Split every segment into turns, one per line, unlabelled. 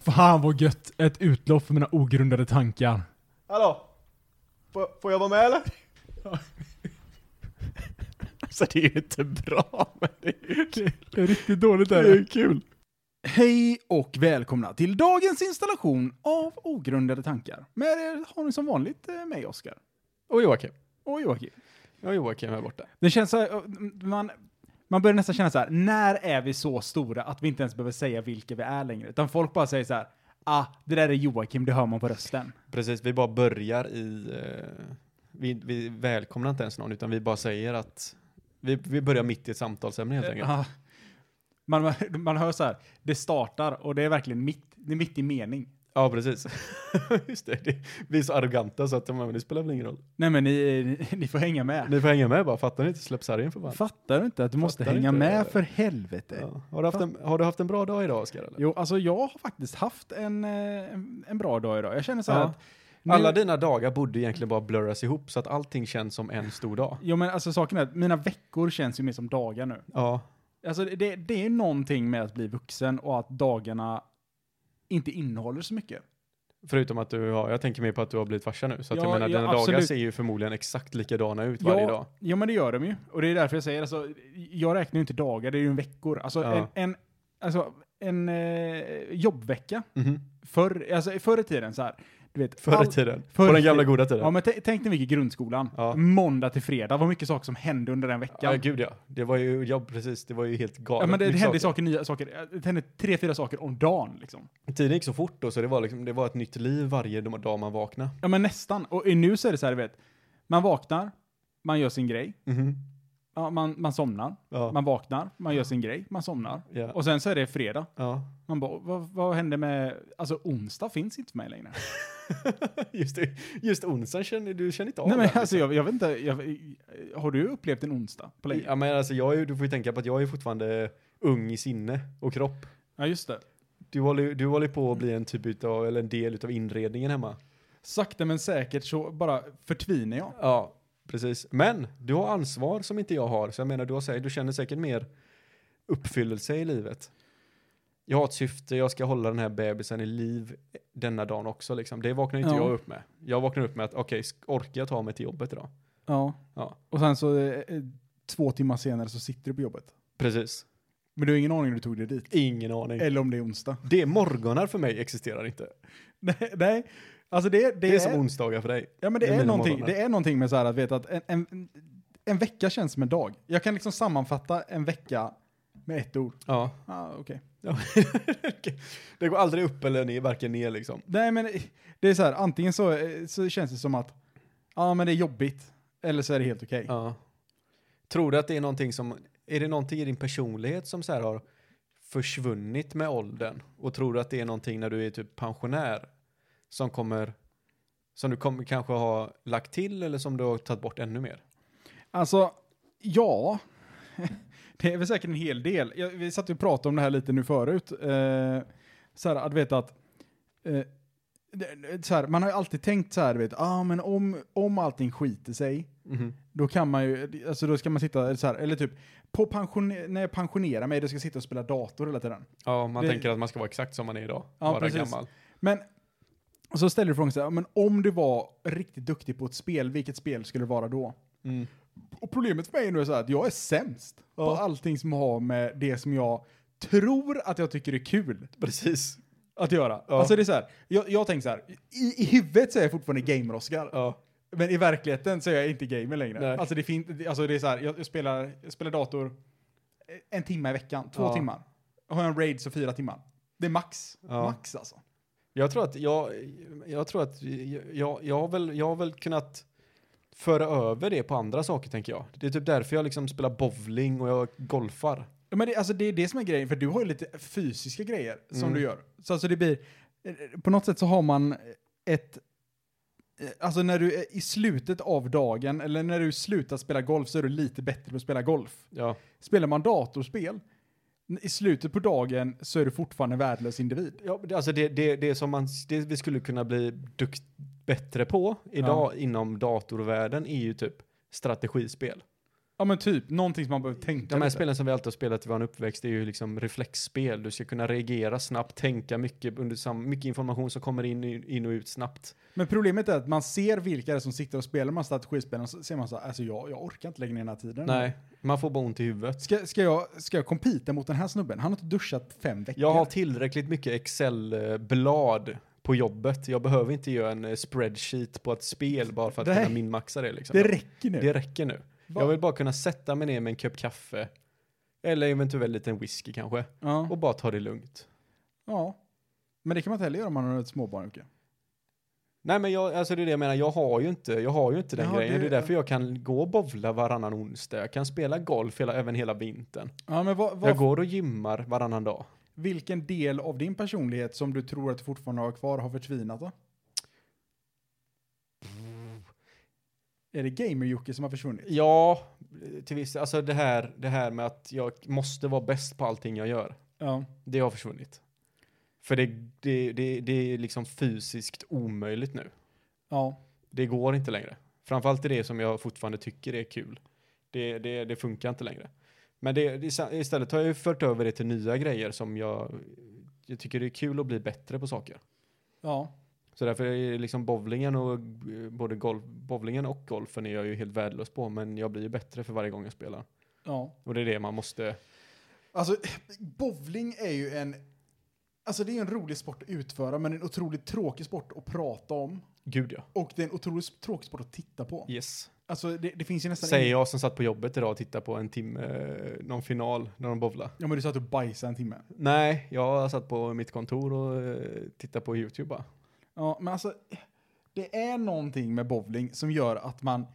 Fan vad gött! Ett utlopp för mina ogrundade tankar.
Hallå? Får, får jag vara med eller?
Alltså det är ju inte bra, men det är ju kul.
Det är riktigt dåligt
Det är ju kul.
Hej och välkomna till dagens installation av Ogrundade tankar. Med er har ni som vanligt eh, mig, Oskar.
Och Joakim.
Och Joakim.
Ja, Joakim är borta.
Det känns så här, eh, man, man börjar nästan känna så här, när är vi så stora att vi inte ens behöver säga vilka vi är längre? Utan folk bara säger så här, ah, det där är Joakim, det hör man på rösten.
Precis, vi bara börjar i... Eh, vi, vi välkomnar inte ens någon, utan vi bara säger att... Vi, vi börjar mitt i ett samtalsämne helt enkelt.
Ah. Man, man hör så här, det startar och det är verkligen mitt, det är mitt i mening.
Ja, precis. Just det, det. Vi är så arroganta så att men det spelar väl ingen roll.
Nej men ni, eh, ni, ni får hänga med.
Ni får hänga med bara, fattar ni inte? Släpp sargen för fan.
Fattar du inte att du måste
Fattar
hänga
inte.
med för helvete?
Ja. Har, du haft en, har du haft en bra dag idag, Oskar? eller?
Jo, alltså jag har faktiskt haft en, eh, en, en bra dag idag. Jag känner så här
Ja.
att... nu-
Alla dina dagar borde egentligen bara blurras ihop så att allting känns som en stor dag.
Jo men alltså saken är att mina veckor känns ju mer som dagar nu.
Ja,
Alltså det, det är någonting med att bli vuxen och att dagarna inte innehåller så mycket.
förutom att du har, jag tänker mer på att du har blivit farsa nu. Så att
Ja,
jag menar,
ja,
dina dagar
absolut.
ser ju förmodligen exakt likadana ut varje dag.
Ja, men det gör de ju. Och det är därför jag säger, alltså, jag räknar ju inte dagar, det är ju en veckor. Alltså
Ja.
en, en, alltså, en eh, jobbvecka.
Mhm.
Förr, alltså, förr i tiden så här, du vet.
Förr i
all-
tiden.
förr
På
i
den gamla
tiden.
goda tiden.
Ja, men t- tänk dig mycket grundskolan.
Ja.
Måndag till fredag, vad mycket saker som hände under den veckan.
Ja, gud ja. Det var ju, ja precis, det var ju helt galet.
Ja, men det, det
Mycket
hände saker, nya saker. Det hände tre, fyra saker om dagen. Liksom.
Tiden gick så fort då, så det var, liksom, det var ett nytt liv varje dag man vaknade.
Ja, men nästan. Och i nu så är det så här, du vet. Man vaknar, man gör sin grej. Ja, man, man somnar,
Ja.
Mm-hmm. man vaknar, man gör sin grej, man somnar.
Ja.
Och sen så är det fredag.
ja.
Man bara, vad, vad hände med... Alltså onsdag finns inte för mig längre.
Just, det. just onsdagen känner du känner inte av
Nej men
det.
alltså jag, jag vet inte, jag, har du upplevt en onsdag på länge?
Ja men alltså jag är, ju- du får ju tänka på att jag är fortfarande ung i sinne och kropp.
Ja, just det.
Du håller, ju- du håller på att bli en typ utav, eller en del utav inredningen hemma.
Sakta men säkert så bara förtvinar jag.
Ja, precis. Men du har ansvar som inte jag har, så jag menar du, har, sä- du känner säkert mer uppfyllelse i livet. Jag har ett syfte, jag ska hålla den här bebisen i liv denna dagen också liksom. Det vaknar inte
Ja.
jag upp med. Jag vaknar upp med att okej, sk- orkar jag ta mig till jobbet idag?
Ja.
Ja.
Och sen så eh, eh, två timmar senare så sitter du på jobbet.
Precis.
Men du har ingen aning hur du tog dig dit.
Ingen aning.
Eller om det är onsdag.
Det morgonar för mig existerar inte.
Nej, nej. Alltså det, det,
Det är,
är,
som onsdagar för dig.
ja, men det,
det är
är
mina
någonting,
morgnar.
det är någonting med så här att veta att en, en, en vecka känns som en dag. Jag kan liksom sammanfatta en vecka med ett ord.
Ja.
Ah, okej.
Ja. det går aldrig upp eller ner, varken ner liksom.
Nej men eh, det är så här, antingen så, eh, så känns det som att ja men det är jobbigt. Eller så är det helt okej.
Ja. Tror du att det är någonting som, är det någonting i din personlighet som så här har försvunnit med åldern? Och tror du att det är någonting när du är typ pensionär som kommer, som du kommer kanske ha lagt till eller som du har tagit bort ännu mer?
Alltså, ja. Det är väl säkert en hel del. Jag, vi satt ju och pratade om det här lite nu förut. Eh, så här, att veta att... Eh, det- det- så här, man har ju alltid tänkt så här, du vet, ah, men om, om allting skiter sig, då kan man ju, alltså då ska man sitta eller så här, eller typ, på pension, när jag pensionerar mig, då ska jag sitta och spela dator hela tiden.
Ja, man
Det-
tänker att man ska vara exakt som man är idag,
Ja,
bara
precis.
gammal.
Men, och så ställer du frågan så här, men om du var riktigt duktig på ett spel, vilket spel skulle det vara då?
Mm.
Och problemet för mig nu är så här att jag är sämst på allting som har med det som jag tror att jag tycker är kul
Precis.
att göra.
Ja.
Alltså det är så här, jag, jag tänker så här, i, i huvudet så är jag fortfarande gamer-Oskar.
Ja.
Men i verkligheten så är jag inte gamer längre.
Nej.
Alltså det, fin- alltså det är så här, jag, jag, spelar, jag spelar dator en timme i veckan, två
Ja.
timmar. Har jag en raid så fyra timmar. Det är max.
Ja.
Max alltså.
Jag tror att jag, jag tror att jag, jag, har väl, jag har väl kunnat föra över det på andra saker tänker jag. Det är typ därför jag liksom spelar bowling och jag golfar.
Ja, Men det, alltså det är det som är grejen, för du har ju lite fysiska grejer som
Mm.
du gör. Så alltså det blir, eh, på något sätt så har man ett, eh, alltså när du är i slutet av dagen, eller när du slutar spela golf så är du lite bättre på att spela golf.
Ja.
Spelar man datorspel, n- i slutet på dagen så är du fortfarande en värdelös individ.
Ja, men det- alltså det, det, det som man, det vi skulle kunna bli dukt, bättre på idag inom datorvärlden är ju typ strategispel.
Ja men typ, någonting som man behöver tänka
De här
lite.
spelen som vi alltid har spelat i vår uppväxt är ju liksom reflexspel. Du ska kunna reagera snabbt, tänka mycket under sam- mycket information som kommer in, in och ut snabbt.
Men problemet är att man ser vilka det är som sitter och spelar de här strategispelen och så ser man så här, alltså jag, jag orkar inte lägga ner den här tiden.
Nej, man får bara ont i huvudet.
Ska, ska jag, ska jag competa mot den här snubben? Han har inte duschat på fem veckor.
Jag har tillräckligt mycket Excel-blad på jobbet. Jag behöver inte göra en eh, spreadsheet på ett spel bara för att
Nej.
kunna minmaxa det. Liksom.
det räcker nu.
Det räcker nu.
Va?
Jag vill bara kunna sätta mig ner med en kopp kaffe eller eventuellt lite en whisky kanske
ja.
och bara ta det lugnt.
ja. Men det kan man inte heller göra om man har ett småbarn. Jocke.
Nej men jag, alltså det är det jag menar, jag har ju inte, jag har ju inte den
Ja,
grejen.
det-
Det är därför jag kan gå och bowla varannan onsdag. Jag kan spela golf hela, även hela vintern.
Ja, men vad,
Jag
vad,
går och gymmar varannan dag.
vilken del av din personlighet som du tror att du fortfarande har kvar har förtvinat då? Är det gamer-Jocke som har försvunnit?
Ja, till viss alltså det här, det här med att jag måste vara bäst på allting jag gör.
Ja.
Det har försvunnit. För det, det, det, det är liksom fysiskt omöjligt nu.
Ja.
Det går inte längre. Framförallt i det som jag fortfarande tycker är kul. Det, det, det funkar inte längre. Men det, det, istället har jag ju fört över det till nya grejer som jag, jag tycker det är kul att bli bättre på saker.
Ja.
Så därför är liksom bowlingen och eh, både golf, bowlingen och golfen är jag ju helt värdelös på, men jag blir ju bättre för varje gång jag spelar.
Ja.
Och det är det man måste,
Alltså, bowling är ju en... Alltså det är en rolig sport att utföra, men en otroligt tråkig sport att prata om.
gud ja.
Och det är en otroligt tråkig sport att titta på.
Yes.
Alltså det, det finns ju nästan
Säger
ingen-
jag som satt på jobbet idag och tittade på en timme, eh, någon final när de bowlar.
Ja men du sa att du bajsade en timme.
Nej, jag satt på mitt kontor och eh, tittade på YouTube bara.
Ja, men alltså det är någonting med bowling som gör att man...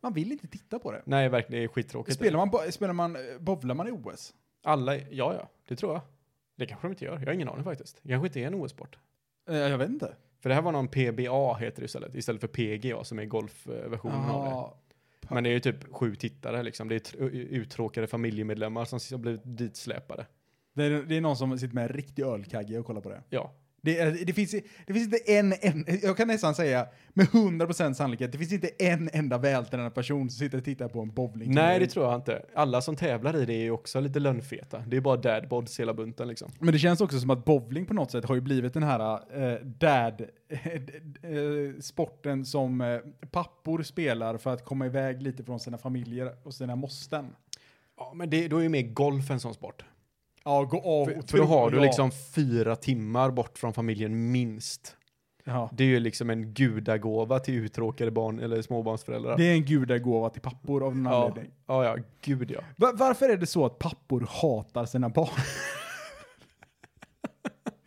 Man vill inte titta på det.
Nej, verkligen, det är skittråkigt.
Spelar man, bo- spelar man, bowlar man i OS?
Alla, ja, ja, det tror jag. Det kanske de inte gör. Jag har ingen aning faktiskt. Det kanske inte är en OS-sport.
Eh, jag vet inte.
För det här var någon PBA heter det istället, istället för PGA som är golfversionen av
Ja,
det. Men det är ju typ sju tittare liksom. Det är tr- uttråkade familjemedlemmar som har blivit ditsläpade.
det, är, det är någon som sitter med en riktig ölkagge och kollar på det.
Ja,
Det, är, det, finns, det finns inte en, en, jag kan nästan säga med 100% sannolikhet, det finns inte en enda vältränad person som sitter och tittar på en bowling.
Nej, det tror jag inte. Alla som tävlar i det är ju också lite lönnfeta. Det är bara dadbods hela bunten liksom.
Men det känns också som att bowling på något sätt har ju blivit den här eh, dad, eh, sporten som eh, pappor spelar för att komma iväg lite från sina familjer och sina måsten.
Ja, men det, då är ju mer golf en sån sport.
Ja, gå av
För,
och
för då
tro-
har du
ja.
liksom fyra timmar bort från familjen minst.
Ja.
Det är ju liksom en gudagåva till uttråkade barn eller småbarnsföräldrar.
Det är en gudagåva till pappor av någon
ja.
anledning.
ja, ja, gud ja.
Va- varför är det så att pappor hatar sina barn?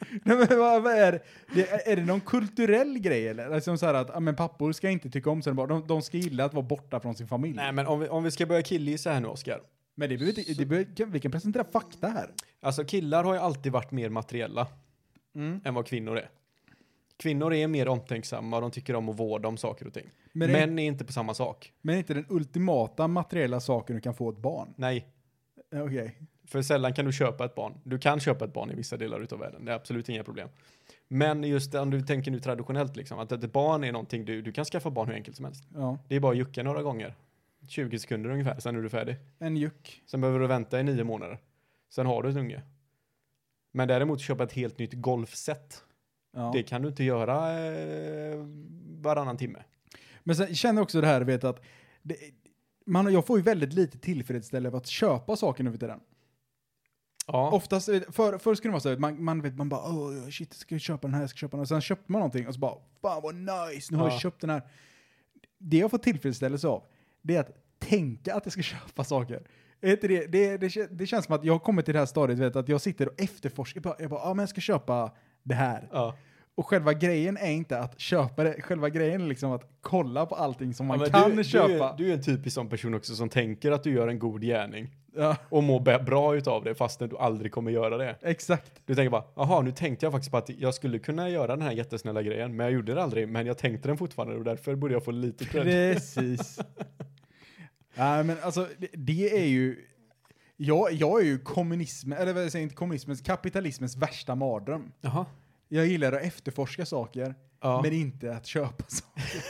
Nej, men vad, vad är, det, är det någon kulturell grej eller? Alltså så här att ja, men pappor ska inte tycka om sina barn, de, de ska gilla att vara borta från sin familj.
Nej, men om vi, om vi ska börja killgissa här nu, Oskar.
Men det behöver inte, det behöver, kan, vi kan presentera fakta här.
Alltså killar har ju alltid varit mer materiella
Mm.
än vad kvinnor är. Kvinnor är mer omtänksamma, de tycker om att vårda om saker och ting.
Men det-
Män är inte på samma sak.
Men inte den ultimata materiella saken du kan få ett barn.
Nej,
Eh, Okej.
För sällan kan du köpa ett barn. Du kan köpa ett barn i vissa delar utav världen. Det är absolut inga problem. Men just om du tänker nu traditionellt liksom, att ett barn är någonting du, du kan skaffa barn hur enkelt som helst.
Ja.
Det är bara att jucka några gånger. 20 sekunder ungefär, sen är du färdig.
En juck.
Sen behöver du vänta i nio månader. Sen har du en unge. Men däremot köpa ett helt nytt golfset,
Ja.
det kan du inte göra eh, varannan timme.
Men sen känner jag också det här, vet att det, man, jag får ju väldigt lite tillfredsställelse av att köpa saker nu för tiden.
Ja,
Oftast, för, förr skulle det vara så här, man, man, vet, man bara oh, shit, jag ska köpa den här, jag ska köpa den här. Sen köpte man någonting och så bara fan vad nice, nu har
Ja.
jag köpt den här. Det jag får tillfredsställelse av, det är att tänka att jag ska köpa saker. Är inte det, det, det, kä- det känns som att jag har kommit till det här stadiet, vet, att jag sitter och efterforskar, jag bara, jag bara ah, men jag ska köpa det här.
ja.
Och själva grejen är inte att köpa det, själva grejen är liksom att kolla på allting som man
Ja, men
kan
du, du är-
köpa.
Du är en typisk sån person också som tänker att du gör en god gärning.
Ja,
och må bä- bra utav det fastän du aldrig kommer göra det.
exakt.
Du tänker bara, jaha, nu tänkte jag faktiskt på att jag skulle kunna göra den här jättesnälla grejen, men jag gjorde det aldrig, men jag tänkte den fortfarande och därför borde jag få lite cred.
Precis. Nej, men alltså det, det är ju... Jag, jag är ju kommunismen, eller vad jag säger inte kommunismens, kapitalismens värsta mardröm.
Jaha.
Jag gillar att efterforska saker,
Ja.
men inte att köpa saker.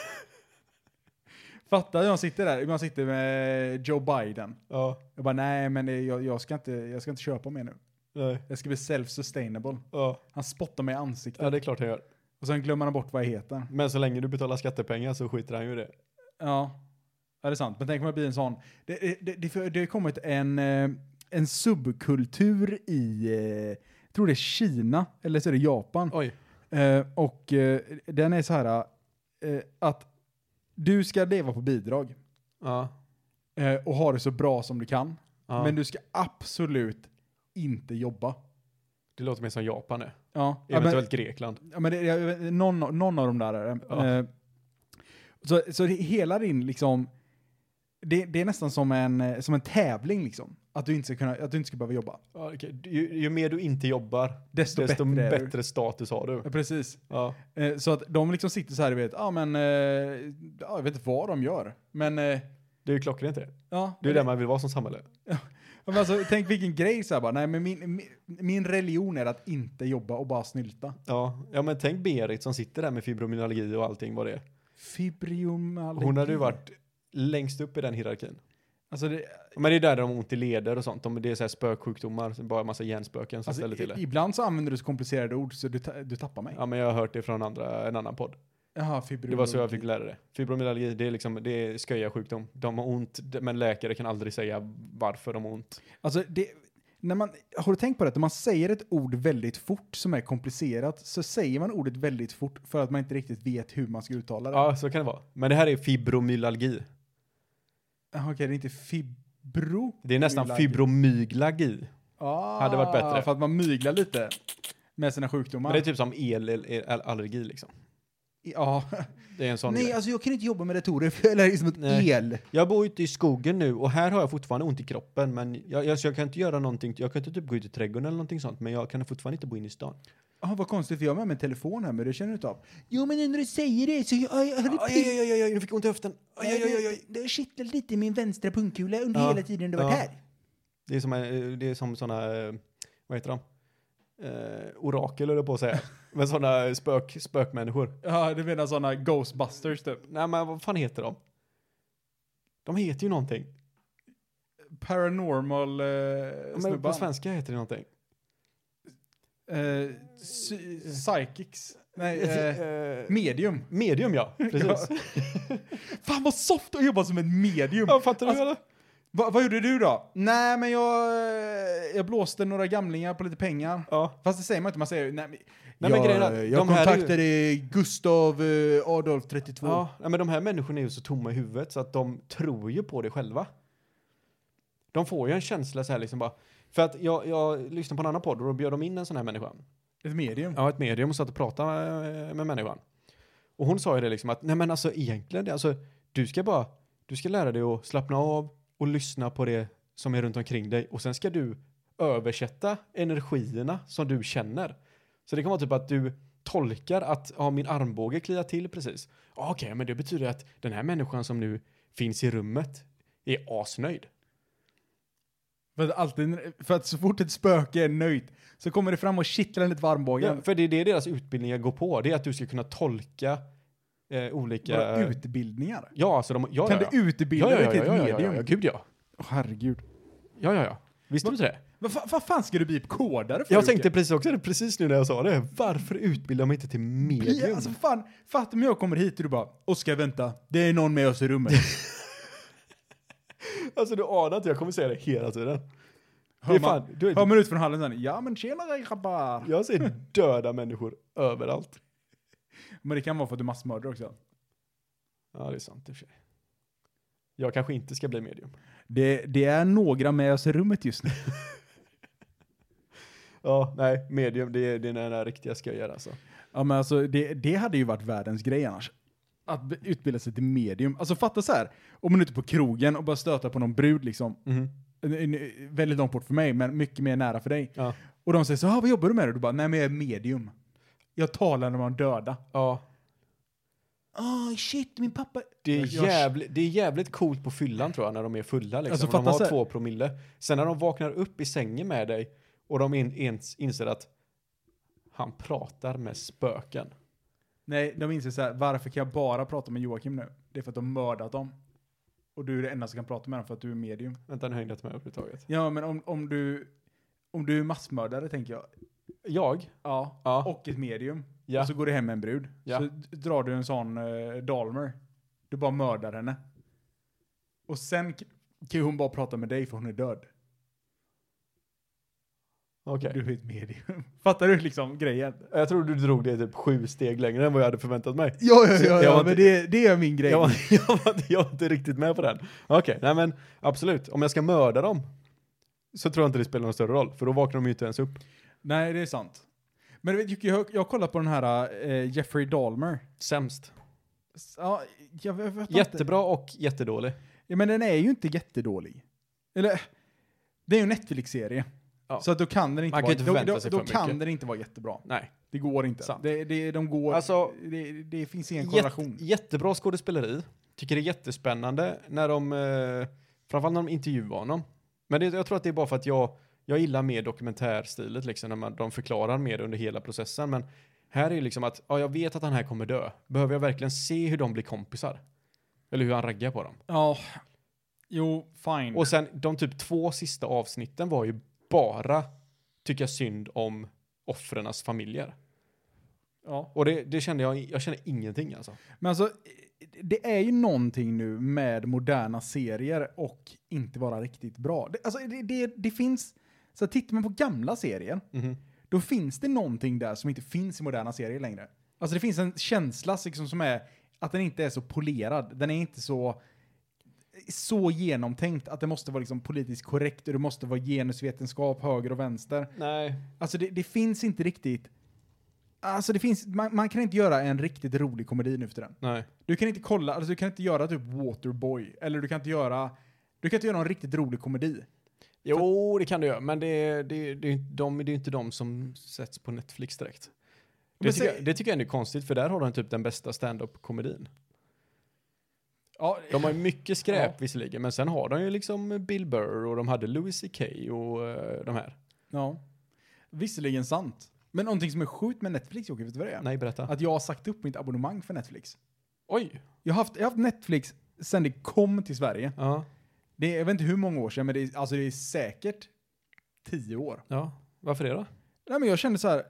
Fattar jag sitter där, man sitter med Joe Biden.
Ja,
Jag bara nej men det, jag, jag, ska inte, jag ska inte köpa mer nu.
nej,
Jag ska bli self-sustainable.
ja.
Han spottar mig i ansiktet
Ja, det är klart jag gör.
och sen glömmer han bort vad jag heter.
Men så länge du betalar skattepengar så skiter han ju i det.
Ja, ja det är sant. Men tänk om jag blir en sån. Det, det, det, det har kommit en, eh, en subkultur i, eh, jag tror det är Kina, eller så är det Japan.
Oj.
Eh, och eh, den är så här eh, att du ska leva på bidrag
Ja.
eh, och ha det så bra som du kan.
ja.
Men du ska absolut inte jobba.
Det låter mer som Japan nu.
Ja, ja, men,
Eventuellt Grekland.
ja, men det, jag vet- någon, någon av dem där är det.
Ja.
Eh, så, så det, hela din liksom, det, det är nästan som en, eh, som en tävling liksom. Att du inte ska, kunna, att du inte ska behöva jobba.
Ja, okej. ju, ju mer du inte jobbar,
Desto,
desto
bättre,
bättre,
är du.
status har du.
Ja, precis.
Ja.
Eh, så att de liksom sitter så här, du vet, ja men, eh, ja, jag vet inte vad de gör. Men, eh,
Det är ju klockrent det.
ja.
Det är där man vill vara som samhälle.
Ja, Men alltså, tänk vilken grej så här bara, nej men min, min, min religion är att inte jobba och bara snylta.
Ja. ja, men tänk Berit som sitter där med fibromyalgi och allting vad det är.
Fibromyalgi.
Hon hade ju varit längst upp i den hierarkin.
Alltså, det,
Men det är där de har ont i leder och sånt. De, det är så här spöksjukdomar, så bara en massa hjärnspöken som
alltså,
ställer till det.
i, ibland så använder du så komplicerade ord så du, ta, du tappar mig.
Ja, men jag har hört det från andra, en annan podd.
Jaha, fibromyalgi.
Det var så jag
Mm.
fick lära det. Fibromyalgi, det är liksom, det är sköja sjukdom. De har ont, d- men läkare kan aldrig säga varför de har ont.
Alltså, det, när man, har du tänkt på det? När man säger ett ord väldigt fort som är komplicerat så säger man ordet väldigt fort för att man inte riktigt vet hur man ska uttala det.
Ja, så kan det vara. Men det här är fibromyalgi.
Jaha, Okej, det är inte fibro.
Det är nästan
Myalgi.
fibromyglagi.
Ah,
Hade varit bättre.
För att man myglar lite med sina sjukdomar.
Men det är typ som elallergi liksom.
ja.
Det är en sån
Nej,
grej.
alltså jag kan inte jobba med datorer för jag lär liksom ett
Nej.
el.
Jag bor ute i skogen nu och här har jag fortfarande ont i kroppen men jag, jag, så jag kan inte göra någonting. Jag kan inte typ gå ut i trädgården eller någonting sånt men jag kan fortfarande inte bo inne i stan.
Ah, vad konstigt, för jag har med mig en telefon här, men det känner du inte av. Jo, men när du säger det så jag, jag, hade
Aj, aj, aj, aj, aj, nu fick jag ont i höften. Aj, aj, aj, aj, aj.
Det har kittlat lite i min vänstra pungkula under
Ja,
hela tiden du varit
ja.
här.
Det är som, eh, det är som såna, eh, vad heter de? Eh, orakel höll jag på att säga. Men såna spök, spökmänniskor.
Ja, du menar sådana Ghostbusters typ?
Nej men vad fan heter de? De heter ju någonting.
Paranormal eh,
Men på svenska heter det någonting.
Eh, psy- psychics. Nej, eh,
Eh,
medium.
medium ja, precis.
Fan vad soft att jobba som ett medium.
Ja, fattar du
Alltså-
eller?
Va, vad gjorde du då? Nej, men jag, eh, jag blåste några gamlingar på lite pengar.
Ja.
Fast det säger man inte, man säger ju, nej, men,
men
jag,
grejen är att
jag
de här är ju-
kontaktade Gustav eh, Adolf 32.
Ja, nej, men de här människorna är ju så tomma i huvudet så att de tror ju på det själva. De får ju en känsla så här liksom bara. För att jag, jag lyssnade på en annan podd och då bjöd de in en sån här människa.
Ett medium.
Ja, ett medium och satt och pratade eh, med människan. Och hon sa ju det liksom att nej men alltså egentligen, det- alltså du ska bara, du ska lära dig att slappna av och lyssna på det som är runt omkring dig och sen ska du översätta energierna som du känner. Så det kan vara typ att du tolkar att ja, min armbåge kliar till precis. Ja, Okej, men det betyder att den här människan som nu finns i rummet är asnöjd.
För, att alltid, för att så fort ett spöke är nöjt så kommer det fram och kittlar lite
Ja,
varmbågen.
för det är det deras utbildningar går på, det är att du ska kunna tolka eh, olika...
Våra utbildningar.
Ja, alltså de... Ja,
Kan
ja, ja.
du utbilda
ja, ja,
dig till ett
ja, ja, ja,
medium?
Ja, ja, gud ja.
Åh, herregud.
Ja, ja, ja. Visste du inte det?
Vad fa- vad fan ska du bli kodare för?
Jag
Jocke?
tänkte precis också det, precis nu när jag sa det. Varför utbildar man inte till
Bli-
medium?
Alltså fan, fatta om jag kommer hit och du bara Oskar vänta, det är någon med oss i rummet.
Alltså, du anar inte, jag kommer säga det hela tiden.
Hör
Det är
man,
fan- du är-
hör man ut från hallen sen, ja men tjenare grabbar.
Jag ser döda människor överallt.
Men det kan vara för att du massmördar också.
Ja, det är sant i och för sig. Jag kanske inte ska bli medium.
Det, det är några med oss i rummet just nu.
Ja, nej, medium, det är, det är den där riktiga sköjar alltså.
Ja men alltså det, det hade ju varit världens grej annars. Att be- utbilda sig till medium. Alltså fatta så här, om man är ute på krogen och bara stöter på någon brud liksom.
Mhm.
En, en, väldigt långt bort för mig, men mycket mer nära för dig.
Ja.
Och de säger så här, vad jobbar du med? Och du bara, nej men jag är medium. Jag talar med de döda.
Ja.
Åh shit, min pappa...
Det är,
Jag-
jävligt, det är jävligt coolt på fyllan tror jag när de är fulla liksom.
Alltså,
Alltså, de
fatta
har
så här-
två promille. Sen när de vaknar upp i sängen med dig och de in, ens, inser att han pratar med spöken.
Nej, de inser så här, varför kan jag bara prata med Joakim nu? Det är för att de mördat dem. Och du är det enda som kan prata med dem för att du är medium.
Vänta, nu hängde jag inte med överhuvudtaget.
Ja, men om, om du... Om du är massmördare, tänker jag.
Jag?
Ja.
Ja.
Och ett medium.
Ja.
Och så går du hem med en brud.
Ja.
Så d- drar du en sån eh, Dalmer. Du bara mördar henne. Och sen k- kan ju hon bara prata med dig för hon är död.
Okej.
Du är ett medium. Fattar du liksom grejen?
Jag tror du drog det typ sju steg längre än vad jag hade förväntat mig.
Ja,
ja, ja, ja, men
det, är min grej.
Jag var, jag var, inte- jag var inte riktigt med på den. Okej, nej men absolut. Om jag ska mörda dem så tror jag inte det spelar någon större roll, för då vaknar de ju inte ens upp.
Nej, det är sant. Men du vet, Jocke, jag, jag kollar på den här eh, Jeffrey Dahmer.
Sämst.
S- Ja, jag, vet- jag vet inte.
Jättebra och jättedålig.
Ja, men den är ju inte jättedålig. Eller, det är ju en Netflix-serie.
Ja.
Så att då kan den inte
Man kan
vara,
inte
då,
förvänta
då,
sig
då
för
kan
mycket.
den inte vara jättebra.
Nej.
Det går inte.
Sant.
Det, det, de går,
Alltså-
det, det finns ingen
Jätte,
korrelation.
jättebra skådespeleri. Tycker det är jättespännande när de, eh, framförallt när de intervjuar honom. Men det, jag tror att det är bara för att jag, jag gillar mer dokumentärstilet, liksom, när man, de förklarar mer under hela processen. Men här är ju liksom att, ja jag vet att han här kommer dö. Behöver jag verkligen se hur de blir kompisar? Eller hur han raggar på dem?
Ja, jo, fine.
Och sen de typ två sista avsnitten var ju bara tycka synd om offrenas familjer.
ja.
Och det, det kände jag, jag kände ingenting alltså.
Men alltså, det är ju någonting nu med moderna serier och inte vara riktigt bra. Det, alltså, det, det, det finns, så tittar man på gamla serier, då finns det någonting där som inte finns i moderna serier längre. Alltså det finns en känsla liksom, som är att den inte är så polerad. Den är inte så så genomtänkt att det måste vara liksom politiskt korrekt och det måste vara genusvetenskap höger och vänster.
Nej.
Alltså det, det finns inte riktigt... Alltså det finns, man, man kan inte göra en riktigt rolig komedi nu för den.
Nej.
Du kan inte kolla, alltså du kan inte göra typ Waterboy, eller du kan inte göra... Du kan inte göra någon riktigt rolig komedi.
Jo, det kan du göra, men det, det, det, är ju inte de, det är ju inte de som sätts på Netflix direkt. Det
Men
tycker,
säg-
jag, det tycker jag ändå är konstigt, för där har de typ den bästa stand-up-komedin.
Ja,
De har ju mycket skräp visserligen, men sen har de ju liksom Bill Burr och de hade Louis CK och eh, de här.
ja. Visserligen sant. Men någonting som är sjukt med Netflix, Jocke, vet du vad det är?
Nej, berätta.
Att jag har sagt upp mitt abonnemang för Netflix.
Oj!
Jag har haft, jag har haft Netflix sen det kom till Sverige.
Ja,
Det är, jag vet inte hur många år sedan, men det är, alltså det är säkert tio år.
ja. Varför det då?
Nej, men jag kände så här,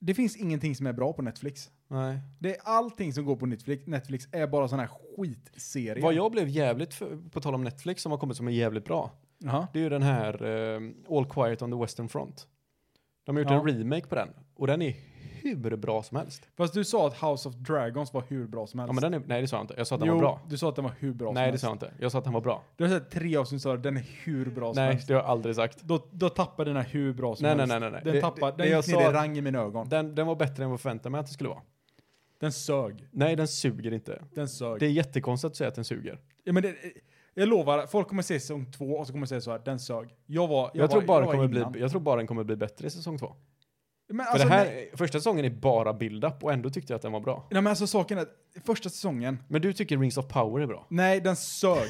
det finns ingenting som är bra på Netflix.
Nej.
Det är allting som går på Netflix, Netflix är bara sån här skitserie.
Vad jag blev jävligt, för, på tal om Netflix, som har kommit som är jävligt bra,
Jaha.
det är ju den här eh, All Quiet on the Western Front. De har gjort
Ja.
en remake på den, och den är hur bra som helst.
Fast du sa att House of Dragons var hur bra som helst.
Ja, men den är, nej, det sa jag inte. Jag sa att den
jo,
var Alltså. bra.
du sa att den var hur bra som
Nej, det
helst.
sa jag inte. Jag sa att den var bra.
Du har sett tre avsnitt och sa den är hur bra som
Nej,
helst.
det har jag aldrig sagt.
Då, då tappar den här hur bra som
Nej, nej,
helst.
nej, nej, nej.
Den,
Det-
tappar,
det-
den
det jag
gick ner
sa-
i rang i mina ögon.
Den, den var bättre än vad jag förväntade mig att den skulle vara.
Den sög.
Nej, den suger inte.
Den sög.
Det är jättekonstigt att säga att den suger.
ja, men det, jag lovar, folk kommer se säsong två och så kommer de säga så här, den sög. Jag var
Jag, tror,
var,
bara
jag
den
var
kommer
innan.
bli, jag tror bara den kommer bli bättre i säsong två.
Men
För
alltså,
det här,
nej,
första säsongen är bara build-up och ändå tyckte jag att den var bra.
nej, men alltså saken är, att första säsongen,
Men du tycker Rings of Power är bra?
nej den sög.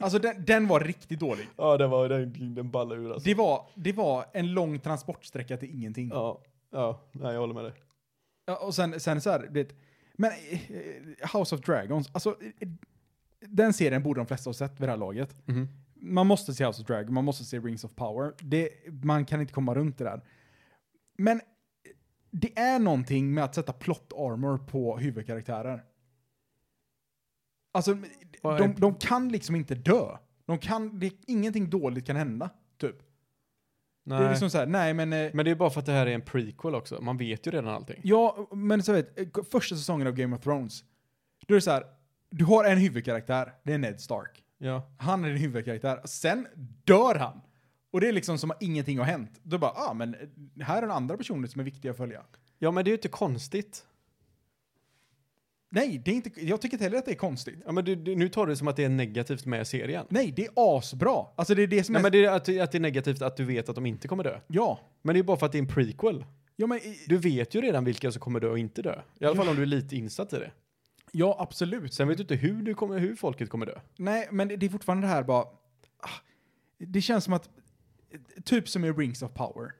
alltså den, den var riktigt dålig.
Ja, den var, den, den ballade ur alltså.
Det var, det var en lång transportsträcka till ingenting.
Ja, ja, nej, jag håller med dig.
Ja, och sen, sen så här, du vet, men eh, House of Dragons, alltså eh, den serien borde de flesta ha sett vid det här laget.
Mhm.
Man måste se House of Dragons, man måste se Rings of Power. Det, man kan inte komma runt det där. Men eh, det är någonting med att sätta plot armor på huvudkaraktärer. Alltså,
Vad
de,
är-
de kan liksom inte dö. De kan, det, ingenting dåligt kan hända, typ.
Nej.
Det är liksom så här, nej men... eh,
Men det är bara för att det här är en prequel också. Man vet ju redan allting.
Ja, men så vet, eh, första säsongen av Game of Thrones, då är det så här, du har en huvudkaraktär, det är Ned Stark.
Ja.
Han är din huvudkaraktär, sen dör han. Och det är liksom som att ingenting har hänt. Då bara, ah men här är den andra personen som är viktig att följa.
Ja, men det är ju inte konstigt.
Nej, det är inte, jag tycker inte heller att det är konstigt.
Ja, men du, du, nu tar du det som att det är negativt med serien.
Nej, det är asbra. Alltså det är det som
Nej,
är...
men det är att, att det är negativt att du vet att de inte kommer dö.
ja.
Men det är bara för att det är en prequel.
Ja, men,
Du vet ju redan vilka som kommer dö och inte dö. I alla fall om du är lite insatt i det.
ja, absolut.
Sen vet du inte hur, du kommer, hur folket kommer dö.
Nej, men det är fortfarande det här bara... ah, Det känns som att... Typ som i Rings of Power.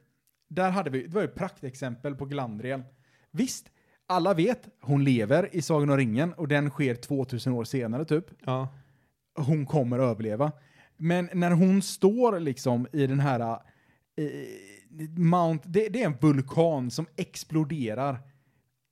Där hade vi, det var ju ett praktexempel på Glandriel. Visst, alla vet, hon lever i Sagan om ringen och den sker 2000 år senare typ.
Ja.
Hon kommer att överleva. Men när hon står liksom i den här eh, Mount, det, det är en vulkan som exploderar.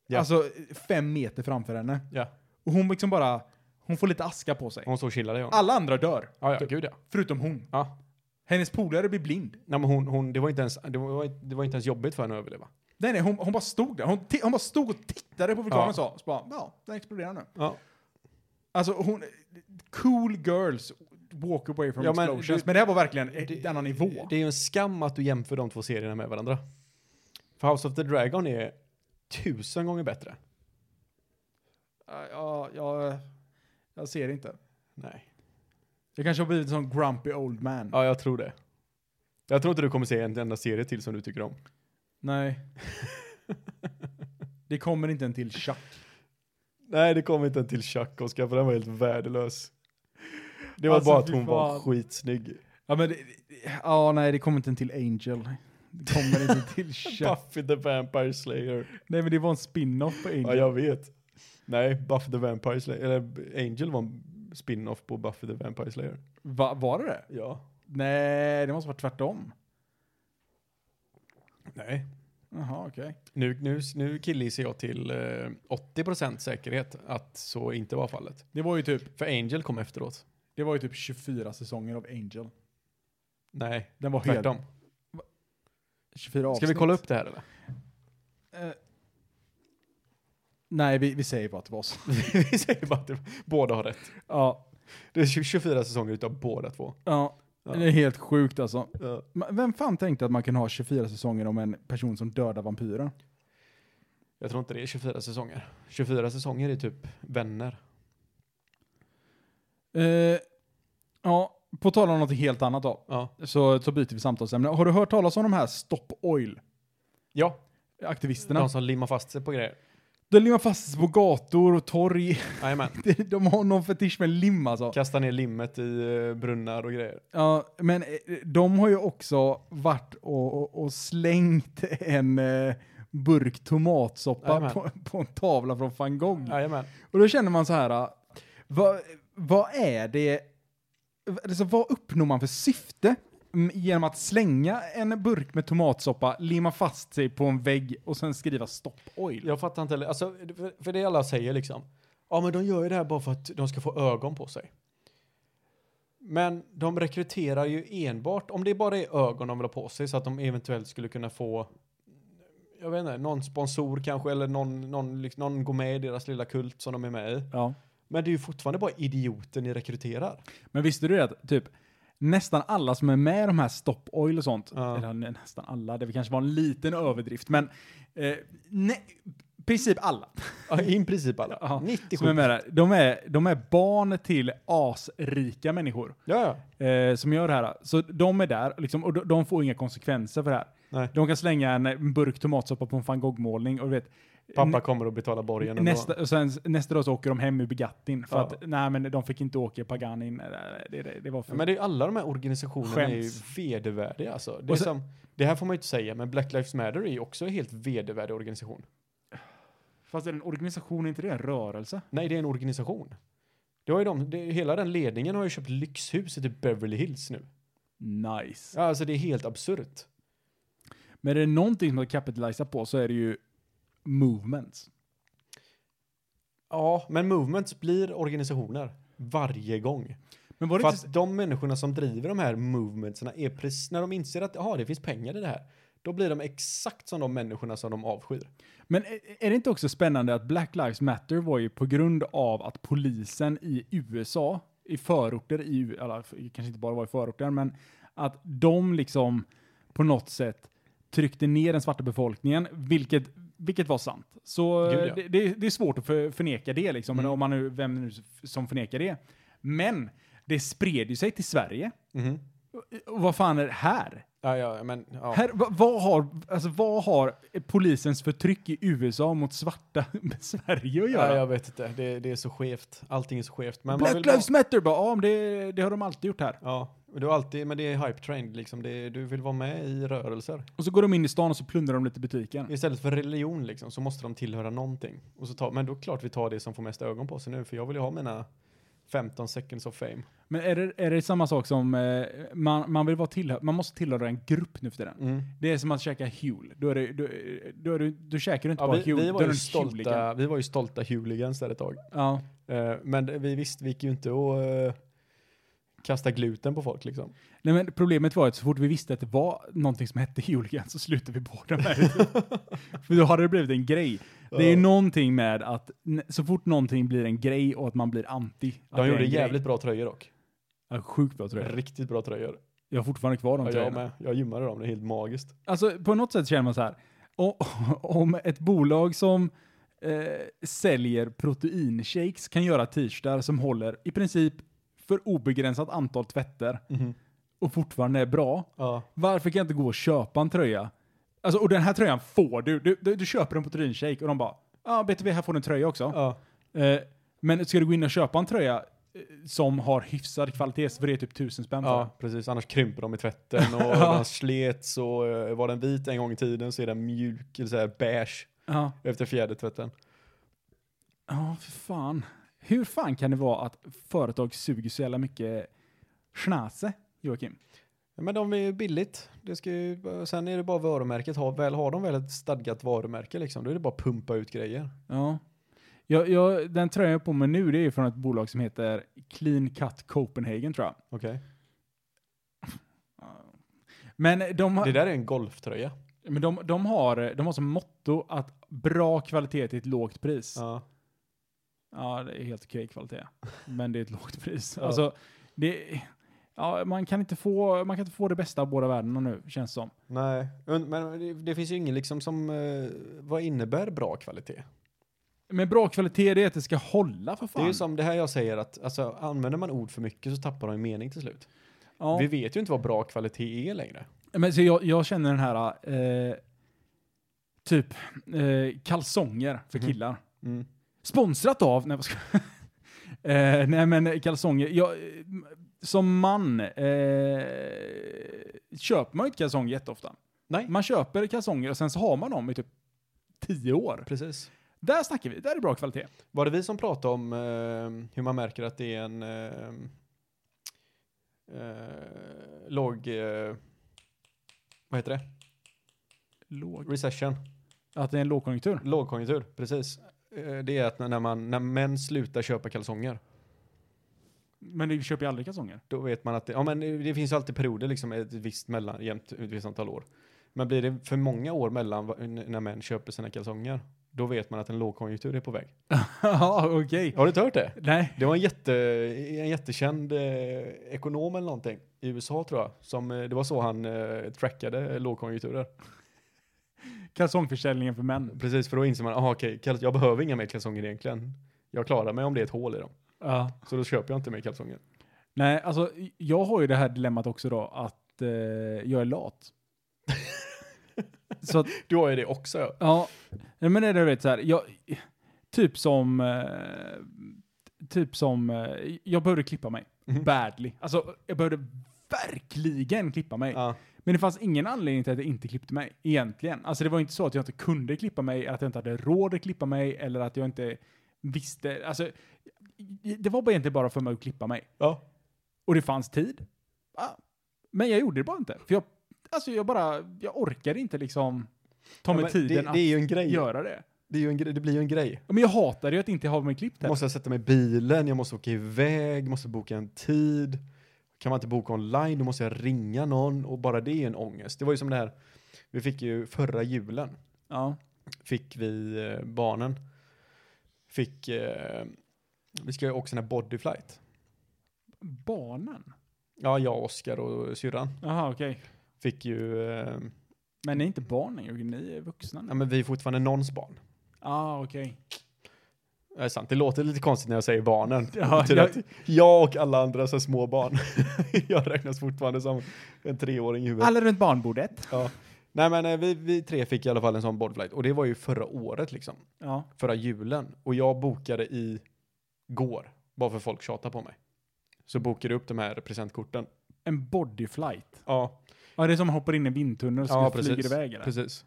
Ja.
Alltså fem meter framför henne.
ja.
Och hon liksom bara, hon får lite aska på sig.
Hon står och chillade ja.
Alla andra dör,
Ja, ja, gud ja.
förutom hon.
ja.
Hennes polare blir blind.
Nej, men hon, hon, det, var inte ens, det, var, inte- det var inte ens jobbigt för henne att överleva.
Nej, nej, hon, hon bara stod där. Hon, ti- hon bara stod och tittade på vulkanen
Ja.
och sa, så bara, ja, den exploderar nu.
Ja.
Alltså hon, cool girls walk away from
Ja, men
explosions. Men,
det-
det här var verkligen en annan nivå.
Det är ju en skam att du jämför de två serierna med varandra. För House of the Dragon är tusen gånger bättre.
Ja, ja, jag, jag ser det inte.
Nej.
Jag kanske har blivit en sån grumpy old man.
Ja, jag tror det. Jag tror inte du kommer se en enda serie till som du tycker om.
Nej. det kommer inte en till Chuck.
Nej, det kom inte en till Chuck, Oskar, för den var helt värdelös. Det var
Alltså,
bara att
fy
hon var
fan.
skitsnygg.
Ja, men det, det- ja, nej, det kommer inte en till Angel. Det kommer inte en till Chuck.
Buffy the Vampire Slayer.
nej, men det var en spin-off på Angel.
Ja, jag vet. Nej, Buffy the Vampire Slayer, eller Angel var en spin-off på Buffy the Vampire Slayer.
Va, var det det?
Ja.
Nej, det måste vara tvärtom.
Nej,
Jaha, okej.
Nu, nu, nu killgissar jag till eh, 80% säkerhet att så inte var fallet.
Det var ju typ
För Angel kom efteråt.
Det var ju typ 24 säsonger av Angel.
Nej,
Den var helt...
tvärtom.
24 avsnitt.
Ska vi kolla upp det här eller?
Eh, nej, vi, vi säger bara att det var så.
vi säger bara att det, båda har rätt.
ja,
Det är 24 säsonger utav båda två.
ja,
Ja.
det är helt sjukt alltså.
Ja.
Ma- Vem fan tänkte att man kan ha 24 säsonger om en person som dödar vampyrer?
Jag tror inte det är 24 säsonger. 24 säsonger är typ vänner.
Eh, ja, på tal om något helt annat då,
Ja.
så, så byter vi samtalsämne. Har du hört talas om de här Stop
Ja,
Oil-aktivisterna?
de som limmar fast sig på grejer.
De limmar fast sig på gator och torg.
Jajamän.
De har någon fetisch med lim alltså.
Kastar ner limmet i eh, brunnar och grejer.
Ja, men eh, de har ju också varit och, och, och slängt en eh, burk tomatsoppa
Jajamän.
på, på en tavla från van Gogh.
Jajamän.
Och då känner man så här, ah, vad, vad är det, alltså, vad uppnår man för syfte mm, genom att slänga en burk med tomatsoppa, limma fast sig på en vägg och sen skriva stopp oil?
Jag fattar inte heller. Alltså, för, för det alla säger liksom. Ja, men de gör ju det här bara för att de ska få ögon på sig. Men de rekryterar ju enbart, om det bara är ögon de vill ha på sig så att de eventuellt skulle kunna få, jag vet inte, någon sponsor kanske eller någon, någon, liksom, någon går med i deras lilla kult som de är med i.
Ja.
Men det är ju fortfarande bara idioter ni rekryterar.
Men visste du det att typ nästan alla som är med i de här Stop Oil och sånt,
Ja.
eller nä- nästan alla, det kanske var en liten överdrift, men eh, nej, i princip alla
Ja, I princip alla.
Ja, som
97.
är med där, de är, de är barn till asrika människor
Ja, ja.
eh, som gör det här. Så de är där liksom, och de, de får inga konsekvenser för det här.
Nej.
De kan slänga en burk tomatsoppa på en van Gogh-målning och du vet,
Pappa kommer och betalar borgen. ändå.
Nästa, och sen, nästa dag så åker de hem ur Begattin för
Ja.
att nej men de fick inte åka i Paganin. Det, det, det var för...
Men det är ju alla de här organisationerna är ju
Skäms.
vedervärdiga alltså. Det, är
Och sen-
som, det här får man ju inte säga, men Black Lives Matter är ju också en helt vedervärdig organisation.
Fast är det en organisation, är inte det en rörelse?
Nej, det är en organisation. Det har ju de, det, hela den ledningen har ju köpt lyxhus i typ Beverly Hills nu.
Nice.
Ja, Alltså det är helt absurt.
Men är det någonting som de kapitaliserar på så är det ju movements.
Ja, men movements blir organisationer varje gång.
Men var det
För
inte...
att de människorna som driver de här movementsna är precis, när de inser att ja, det finns pengar i det här, då blir de exakt som de människorna som de avskyr.
Men är- är det inte också spännande att Black Lives Matter var ju på grund av att polisen i USA, i förorter i U- eller f- kanske inte bara var i förorter, men att de liksom på något sätt tryckte ner den svarta befolkningen, vilket, vilket var sant. Så
Gud, ja. Mm.
det, det, det är svårt att för, förneka det, liksom, men om man nu, vem nu som förnekar det. Men det spred ju sig till Sverige.
Mhm.
Och vad fan är det här?
Ja, ja, men, ja.
Här, va- vad, har, alltså, vad har polisens förtryck i USA mot svarta med Sverige att
ja,
göra?
jag vet inte. Det, det är så skevt. Allting är så skevt. Men man vill
Black
vara,
Lives Matter bara, ja, men det, det har de alltid gjort här.
ja, och du är alltid, men det är hype trained liksom. Det, du vill vara med i rörelser.
Och så går de in i stan och så plundrar de lite butiken.
Istället för religion liksom så måste de tillhöra någonting. Och så tar, men då klart vi tar det som får mest ögon på sig nu för jag vill ju ha mina 15 seconds of fame.
Men är det, är det samma sak som, eh, man, man vill vara tillhör, man måste tillhöra en grupp nu för tiden. Det är som att käka Huel. Då, är det, då, då, är det, då käkar du inte
Ja,
bara
vi,
Huel,
vi,
då
var
är du
ju
en
stolta,
Hueligan.
vi var ju stolta hooligans där ett tag.
Ja.
Eh, men det- vi visste, vi gick ju inte att eh, kasta gluten på folk liksom.
Nej, men problemet var att så fort vi visste att det var någonting som hette Hooligan så slutade vi båda med det. För då hade det blivit en grej. Det är ju
Ja.
någonting med att n- så fort någonting blir en grej och att man blir anti. att det
De
är
gjorde
en grej.
jävligt bra tröjor dock.
Ja, sjukt bra tror jag.
Riktigt bra tröjor.
Jag har fortfarande kvar de
Ja, jag
tröjorna.
med. Jag gymmade dem, det är helt magiskt.
Alltså på något sätt känner man så här. o- om ett bolag som eh, säljer proteinshakes kan göra t-shirtar som håller i princip för obegränsat antal tvätter
Mhm.
och fortfarande är bra.
Ja.
Varför kan jag inte gå och köpa en tröja? Alltså, och den här tröjan får du. Du, du, du köper en proteinshake och de bara, ja ah, BTV, här får du en tröja också.
Ja.
Eh, men ska du gå in och köpa en tröja eh, som har hyfsad kvalitet så för det är typ tusen spänn för den.
ja, precis. Annars krymper de i tvätten och de slets och eh, var den vit en gång i tiden så är den mjuk, eller så här beige
Ja.
efter fjärde tvätten.
Ja, för fan. Hur fan kan det vara att företag suger så jävla mycket schnäse, Joakim?
Ja, Men de är ju billigt. Det ska ju, sen är det bara varumärket. Har, väl, har de väl ett stadgat varumärke liksom, då är det bara att pumpa ut grejer.
Ja. Jag, jag, den tröjan jag har på mig nu, det är från ett bolag som heter Clean Cut Copenhagen, tror jag.
Okej.
Men de, har-
Det där är en golftröja.
men de, de, har, de har som motto att bra kvalitet till ett lågt pris. Ja,
Ja.
det är helt okej kvalitet. Men det är ett lågt pris.
Ja.
Alltså, det, ja, man, kan inte få, man kan inte få det bästa av båda världarna nu, känns det som.
Nej, Und- men det, det finns ju ingen liksom som, eh, vad innebär bra kvalitet?
Men bra kvalitet, det är att det ska hålla, för fan.
Det är ju som det här jag säger att alltså, använder man ord för mycket så tappar de ju mening till slut.
Ja.
Vi vet ju inte vad bra kvalitet är längre.
Men så jag, jag känner den här, eh, typ, eh, kalsonger för
Mhm.
killar. Sponsrat av, nej vad ska eh, Nej men kalsonger, jag, eh, som man eh, köper man ju inte kalsonger jätteofta.
Nej.
Man köper kalsonger och sen så har man dem i typ tio år.
Precis.
Där snackar vi, där är bra kvalitet.
Var det vi som pratade om eh, hur man märker att det är en eh, eh, låg, eh, vad heter det?
Låg.
Recession.
Att det är en lågkonjunktur.
Lågkonjunktur, precis. Eh, det är att när, när, man, när män slutar köpa kalsonger
Men vi köper ju aldrig kalsonger.
då vet man att det, ja, men det finns ju alltid perioder, liksom ett visst mellan, jämnt, ett visst antal år. Men blir det för många år mellan va- n- när män köper sina kalsonger, då vet man att en lågkonjunktur är på väg.
Ja, okej.
Har du inte hört det?
Nej.
Det var en, jätte, en jättekänd eh, ekonom eller någonting i USA tror jag, som, eh, det var så han eh, trackade lågkonjunkturer.
Kalsongförsäljningen för män.
Precis, för då inser man, aha, okej, kal- jag behöver inga mer kalsonger egentligen. Jag klarar mig om det är ett hål i dem,
Ja.
så då köper jag inte mer kalsonger.
Nej, alltså jag har ju det här dilemmat också då att eh, jag är lat. så att,
Du har ju det också. ja.
ja, nej, men det är det, du vet så här, jag, typ som, eh, typ som, eh, jag behövde klippa mig.
Mhm.
Badly. Alltså jag behövde verkligen klippa mig.
Ja.
Men det fanns ingen anledning till att jag inte klippte mig, egentligen. Alltså det var ju inte så att jag inte kunde klippa mig, att jag inte hade råd att klippa mig, eller att jag inte visste. Alltså, det var bara egentligen bara för mig att klippa mig.
Ja.
Och det fanns tid. Ja. Men jag gjorde det bara inte. För jag, alltså jag bara, jag orkade inte liksom ta
Ja,
mig
men
tiden
det, det är ju en
att
grej.
göra det.
Det, är ju en grej. det blir ju en grej.
Ja, Men jag hatade ju att inte ha mig klippt här.
Måste jag sätta mig i bilen, jag måste åka iväg, måste boka en tid. Kan man inte boka online, då måste jag ringa någon och bara det är en ångest. Det var ju som det här, vi fick ju förra julen,
Ja.
fick vi eh, barnen, fick, eh, vi ska ju åka sån här bodyflight.
Barnen?
Ja, jag, Oskar och syrran
Jaha, okej.
fick ju, eh,
Men ni är inte barn längre, ni är vuxna nu.
ja men vi är fortfarande någons barn.
Ah, okej.
Ja, Det är sant, det låter lite konstigt när jag säger barnen.
Ja,
Ja, jag...
jag-
Att jag och alla andra så små barn. jag räknas fortfarande som en treåring i huvudet.
Alla runt barnbordet.
Ja. Nej men eh, vi, vi tre fick i alla fall en sån boardflight och det var ju förra året liksom.
Ja.
Förra julen. Och jag bokade i går. Bara för folk tjatar på mig. Så bokade jag upp de här presentkorten.
En bodyflight.
Ja,
Ja, det är som man hoppar in i en vindtunnel så
Ja,
ja,
precis.
flyger iväg. Eller?
precis.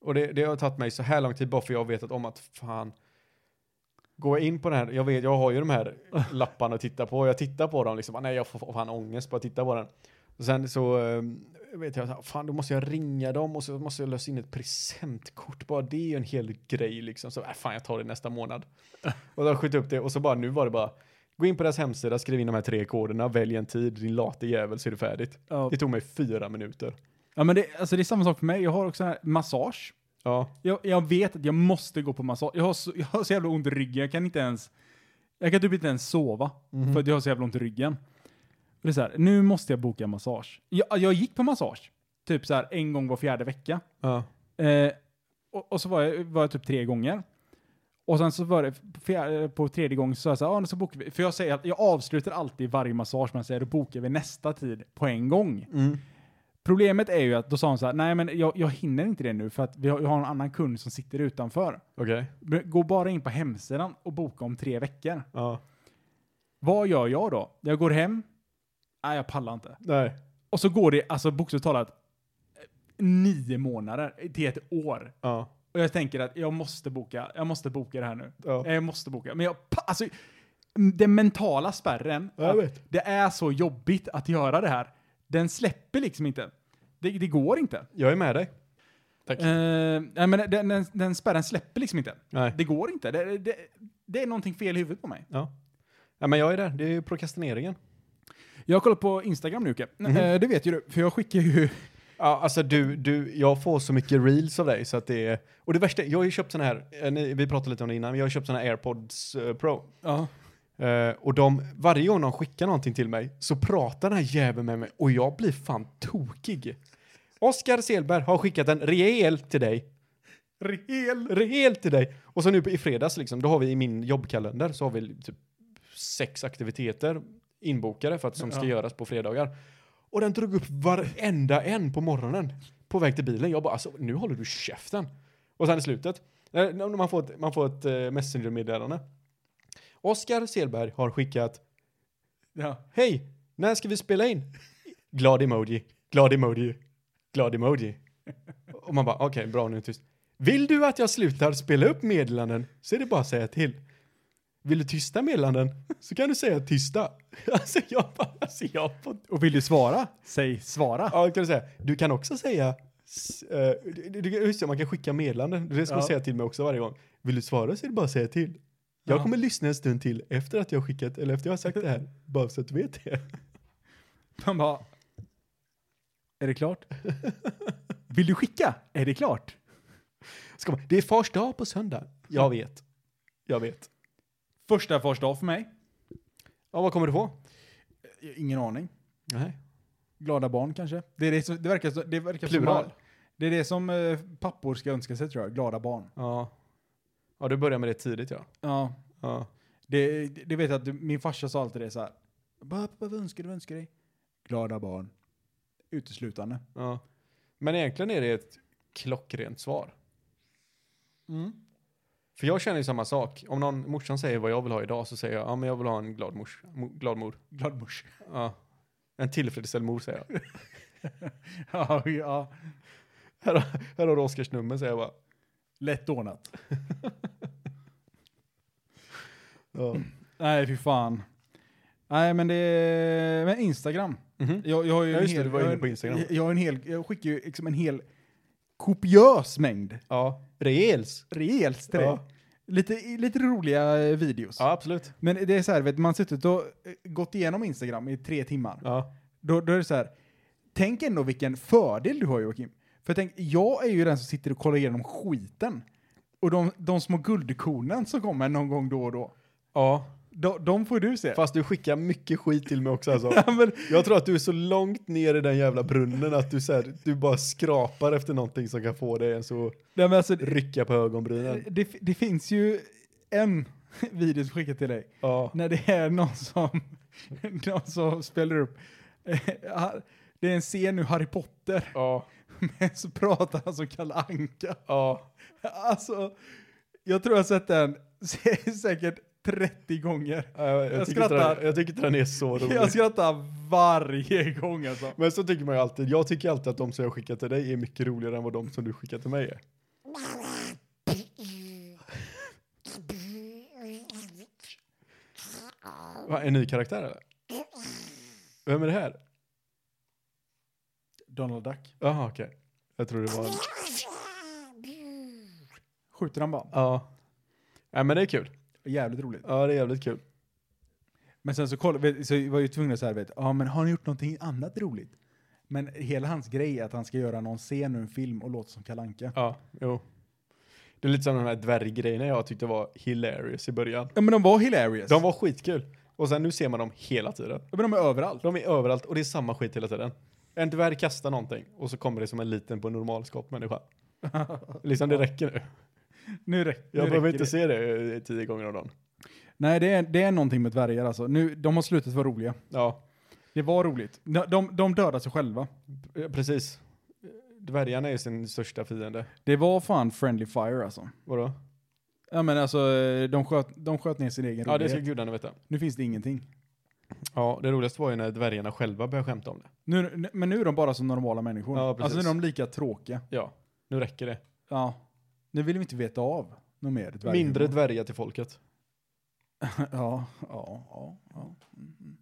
Och det, det har tagit mig så här lång tid bara för jag har vetat om att fan. Går jag in på den här, jag vet, jag har ju de här lapparna att titta på. Jag tittar på dem liksom, ah, nej jag får fan ångest bara titta på den. Och sen så eh, vet jag, så här, fan då måste jag ringa dem och så måste jag lösa in ett presentkort. Bara det är ju en hel grej liksom. Så äh, fan jag tar det nästa månad. Och då skjuter jag upp det och så bara nu var det bara, gå in på deras hemsida, skriv in de här tre koderna, välj en tid, din late jävel så är det färdigt.
Ja.
Det tog mig fyra minuter.
Ja, men det, alltså, det är samma sak för mig. Jag har också här massage.
Ja.
Jag, jag vet att jag måste gå på massage. Jag har, så, jag har så jävla ont i ryggen. Jag kan inte ens... Jag kan typ inte ens sova för att jag har så jävla ont i ryggen. Och det är så här, nu måste jag boka massage. Jag, jag gick på massage typ så här en gång var fjärde vecka.
Ja.
Eh, och, och så var jag, var jag typ tre gånger. Och sen så var det på, fjär, på tredje gången så sa jag så här, "Ja, nu så bokar vi. För jag säger att jag avslutar alltid varje massage med att säga då bokar vi nästa tid på en gång. Problemet är ju att då sa hon så här, nej men jag, jag hinner inte det nu för att vi har, jag har en annan kund som sitter utanför.
Okej.
Men Gå bara in på hemsidan och boka om tre veckor.
Ja.
Vad gör jag då? Jag går hem. Nej, jag pallar inte.
Nej.
Och så går det alltså bokstavligt talat eh, nio månader till ett år.
Ja.
Och jag tänker att jag måste boka, jag måste boka det här nu.
Ja.
Jag måste boka. Men jag, pa- alltså, m- den mentala spärren,
Ja, jag
att
vet.
det är så jobbigt att göra det här, den släpper liksom inte. Det, det går inte.
Jag är med dig. Tack.
Eh, nej, men den, den, den spärren släpper liksom inte.
Nej.
Det går inte. Det, det, det är någonting fel i huvudet på mig.
Ja. ja. men jag är där. Det är ju prokrastineringen.
Jag kollar på Instagram nu, Uke. Eh, det vet ju du, för jag skickar ju...
Ja, alltså du, du, jag får så mycket reels av dig så att det är... Och det värsta, jag har ju köpt såna här, eh, ni- vi pratade lite om det innan, men jag har köpt såna här airpods eh, pro.
Ja.
Eh, och de, varje gång de skickar någonting till mig så pratar den här jäveln med mig och jag blir fan tokig. Oskar Selberg har skickat en rejäl till dig. Rejäl? Rejäl till dig. Och så nu på- i fredags liksom, då har vi i min jobbkalender så har vi typ sex aktiviteter inbokade för att som ska göras på fredagar. Och den drog upp varenda en på morgonen på väg till bilen. Jag bara alltså, nu håller du käften. Och sen i slutet, eh, när man får ett, man får ett eh, messengermeddelande. Oskar Selberg har skickat
ja.
Hej, när ska vi spela in? Glad emoji, glad emoji, glad emoji. Och man bara, okej, bra nu är det tyst. Vill du att jag slutar spela upp meddelanden så är det bara att säga till. Vill du tysta meddelanden så kan du säga tysta. Alltså jag bara, alltså jag får...
Och vill du svara? Säg svara.
Ja, kan du säga. Du kan också säga, s- eh, du, du, just det, man kan skicka meddelanden. Det ska du
Ja.
säga till mig också varje gång. Vill du svara så är det bara att säga till. Jag
Ja.
kommer lyssna en stund till efter att jag har skickat, eller efter jag har sagt det här. Bara så att du vet det.
Man bara... Är det klart? Vill du skicka? Är det klart?
Ska man, det är fars dag på söndag. Jag vet. Jag vet.
Första fars dag för mig.
Ja, vad kommer du få?
Ingen aning.
Nej.
Glada barn kanske. Det, är det, som- det verkar, så- det verkar
Plural.
Som, det är det som eh, pappor ska önska sig tror jag. Glada barn.
Ja. Ja, du börjar med det tidigt ja.
Ja.
Ja.
Det, det vet jag att du- min farsa sa alltid det så här. Pappa, vad önskar du? Vad önskar dig? Glada barn. Uteslutande.
ja. Men egentligen är det ett klockrent svar.
Mm.
För jag känner ju samma sak. Om någon morsan säger vad jag vill ha idag så säger jag, ja men jag vill ha en glad, mors, mo, glad mor.
Glad mors.
Ja. En tillfredsställd mor säger jag.
ja, ja.
här, har- här har du Oskars nummer säger jag bara.
Lätt ordnat.
Ja.
Nej, fy fan. Nej, men det är... Men Instagram.
Mhm.
Jag, jag har ju
Ja,
en
just det,
hel,
du var
jag har
inne
en-
på Instagram.
Jag, jag, har en hel, jag skickar ju liksom en hel kopiös mängd
ja. Rejäls.
rejält till
Ja.
dig. Lite, lite roliga eh, videos.
Ja, absolut.
Men det är så här, vet, du, man har suttit och eh, gått igenom Instagram i tre timmar.
Ja.
Då, då är det så här, tänk ändå vilken fördel du har Joakim. För tänk, jag är ju den som sitter och kollar igenom skiten. Och de, de små guldkornen som kommer någon gång då och då,
Ja.
de, de får du se.
Fast du skickar mycket skit till mig också alltså.
Ja, men,
Jag tror att du är så långt ner i den jävla brunnen att du, så här, du bara skrapar efter någonting som kan få dig ens att
nej, men alltså,
rycka på ögonbrynen.
det, det finns ju en video som skickade till dig.
Ja.
När det är någon som, någon som spelar upp. eh, ha- Det är en scen nu Harry Potter.
Ja.
Men så pratar han som Kalle Anka.
Ja.
Alltså, jag tror jag har sett den sä- säkert 30 gånger.
Jag,
Jag
tycker inte
skrattar.
den- jag tycker inte den är så rolig.
Jag skrattar varje gång alltså.
Men så tycker man ju alltid, jag tycker alltid att de som jag skickar till dig är mycket roligare än vad de som du skickar till mig är. Va, en ny karaktär eller? Vem är det här?
Donald Duck.
Jaha okej. Jag tror det var en...
Skjuter han bara.
Ja. Nej men det är kul.
Jävligt roligt.
Ja det är jävligt kul.
Men sen så, koll, vet- så var jag ju tvungen att säga, vet, ja men har han gjort någonting annat roligt? Men hela hans grej är att han ska göra någon scen ur en film och låta som Kalle Anka.
Ja, jo. Det är lite som de här dvärggrejerna jag tyckte var hilarious i början.
Ja men de var hilarious.
De var skitkul. Och sen nu ser man dem hela tiden.
ja, men de är överallt.
De är överallt och det är samma skit hela tiden. En dvärg kastar någonting och så kommer det som en liten på normalskap människa. liksom det räcker nu.
Nu, räck, nu
Jag behöver
räcker
inte
det.
se det eh, tio gånger om dagen.
Nej det är, det är någonting med dvärgar alltså. Nu, de har slutat vara roliga.
Ja,
Det var roligt. De, de, de dödade sig själva.
p- precis. Dvärgarna är ju sin största fiende.
Det var fan friendly fire alltså.
Vadå?
Ja men alltså eh, de sköt, de sköt ner sin egen
Ja, det
rolighet.
ska gudarna veta.
Nu finns det ingenting.
Ja, det roligaste var ju när dvärgarna själva började skämta om det.
Nu, nu- men nu är de bara som normala människor.
Ja, precis.
alltså nu är de lika tråkiga.
Ja, nu räcker det.
Ja. Nu vill vi inte veta av något mer. dvärghumor.
Mindre dvärgar till folket.
ja, ja, ja. ja. Mm, mm.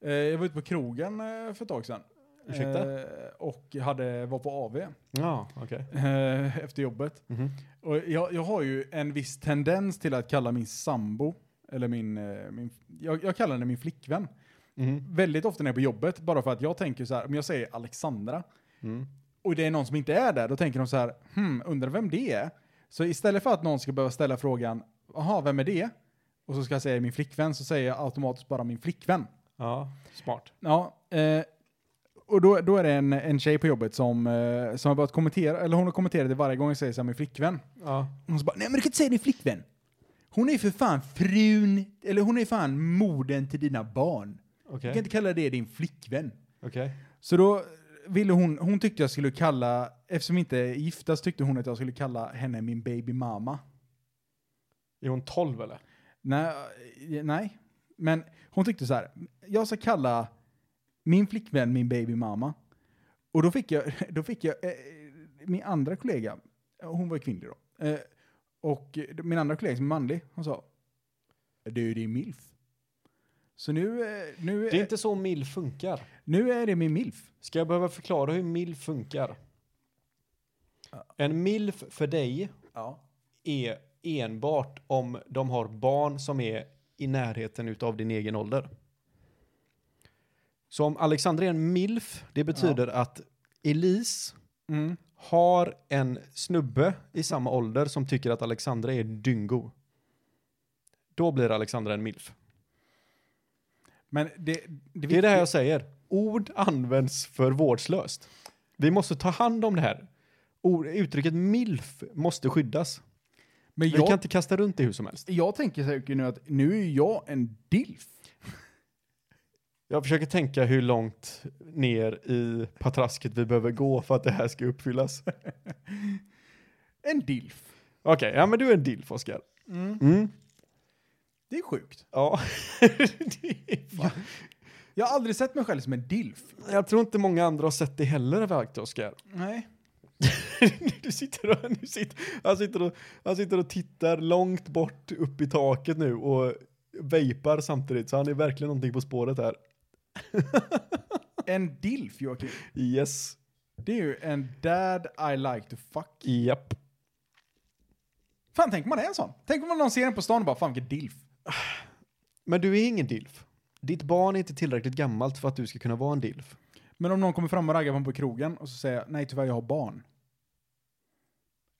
Eh, jag var ute på krogen eh, för ett tag sedan.
Ursäkta?
Eh, och hade, var på AV
Ja, okej.
eh, efter jobbet.
Mhm.
Och jag, jag har ju en viss tendens till att kalla min sambo, eller min, eh, min jag, jag kallar henne min flickvän.
Mhm.
Väldigt ofta när jag är på jobbet, bara för att jag tänker så här, om jag säger Alexandra,
Mm.
och det är någon som inte är där, då tänker de så här, hmm, undrar vem det är? Så istället för att någon ska behöva ställa frågan, jaha, vem är det? Och så ska jag säga min flickvän, så säger jag automatiskt bara min flickvän.
Ja, smart.
Ja, eh, och då, då är det en, en tjej på jobbet som, eh, som har börjat kommentera, eller hon har kommenterat det varje gång jag säger så här, min flickvän.
Ja.
Hon så bara, nej men du kan inte säga din flickvän. Hon är ju för fan frun, eller hon är fan modern till dina barn. Du
Okej.
kan inte kalla det din flickvän.
Okej.
Så då ville hon, hon tyckte jag skulle kalla, eftersom vi inte är gifta så tyckte hon att jag skulle kalla henne min baby mama.
Är hon 12 eller?
Nej, eh, nej. Men hon tyckte så här, jag ska kalla min flickvän min baby mama. Och då fick jag, då fick jag eh, min andra kollega, hon var kvinnlig då, eh, och eh, min andra kollega som är manlig, hon sa, du det är milf. Så nu, eh, nu,
Det är inte så mill funkar.
nu är det min milf.
Ska jag behöva förklara hur milf funkar? En milf för dig
Ja.
är enbart om de har barn som är i närheten utav din egen ålder. Så om Alexandra är en milf, det betyder att Elise
Mm.
har en snubbe i samma ålder som tycker att Alexandra är dyngo. Då blir Alexandra en milf.
Men det, det,
Det är det här jag säger. Ord används för vårdslöst. Vi måste ta hand om det här. Ord, uttrycket milf måste skyddas.
Men
Vi
jag,
kan inte kasta runt det hur som helst.
jag tänker så här, nu att nu är jag en dilf.
Jag försöker tänka hur långt ner i patrasket vi behöver gå för att det här ska uppfyllas. Okej,
En dilf.
ja men du är en dilf, Oskar. Mm.
Det är sjukt.
Ja. Det är fan-
Jag har aldrig sett mig själv som en dilf.
Jag tror inte många andra har sett det heller, verkligen, Oskar.
Nej.
du sitter och, nu sitter, han, sitter och, han sitter och tittar långt bort upp i taket nu och vejpar samtidigt, så han är verkligen någonting på spåret här.
En dilf, Joakim.
Yes.
Det är ju en dad I like to fuck.
Japp.
Fan, tänk om man är en sån. Tänk om man någon ser en på stan och bara, fan vilken dilf.
Men du är ingen DILF. Ditt barn är inte tillräckligt gammalt för att du ska kunna vara en DILF.
Men om någon kommer fram och raggar på en på krogen och så säger jag, nej tyvärr jag har barn.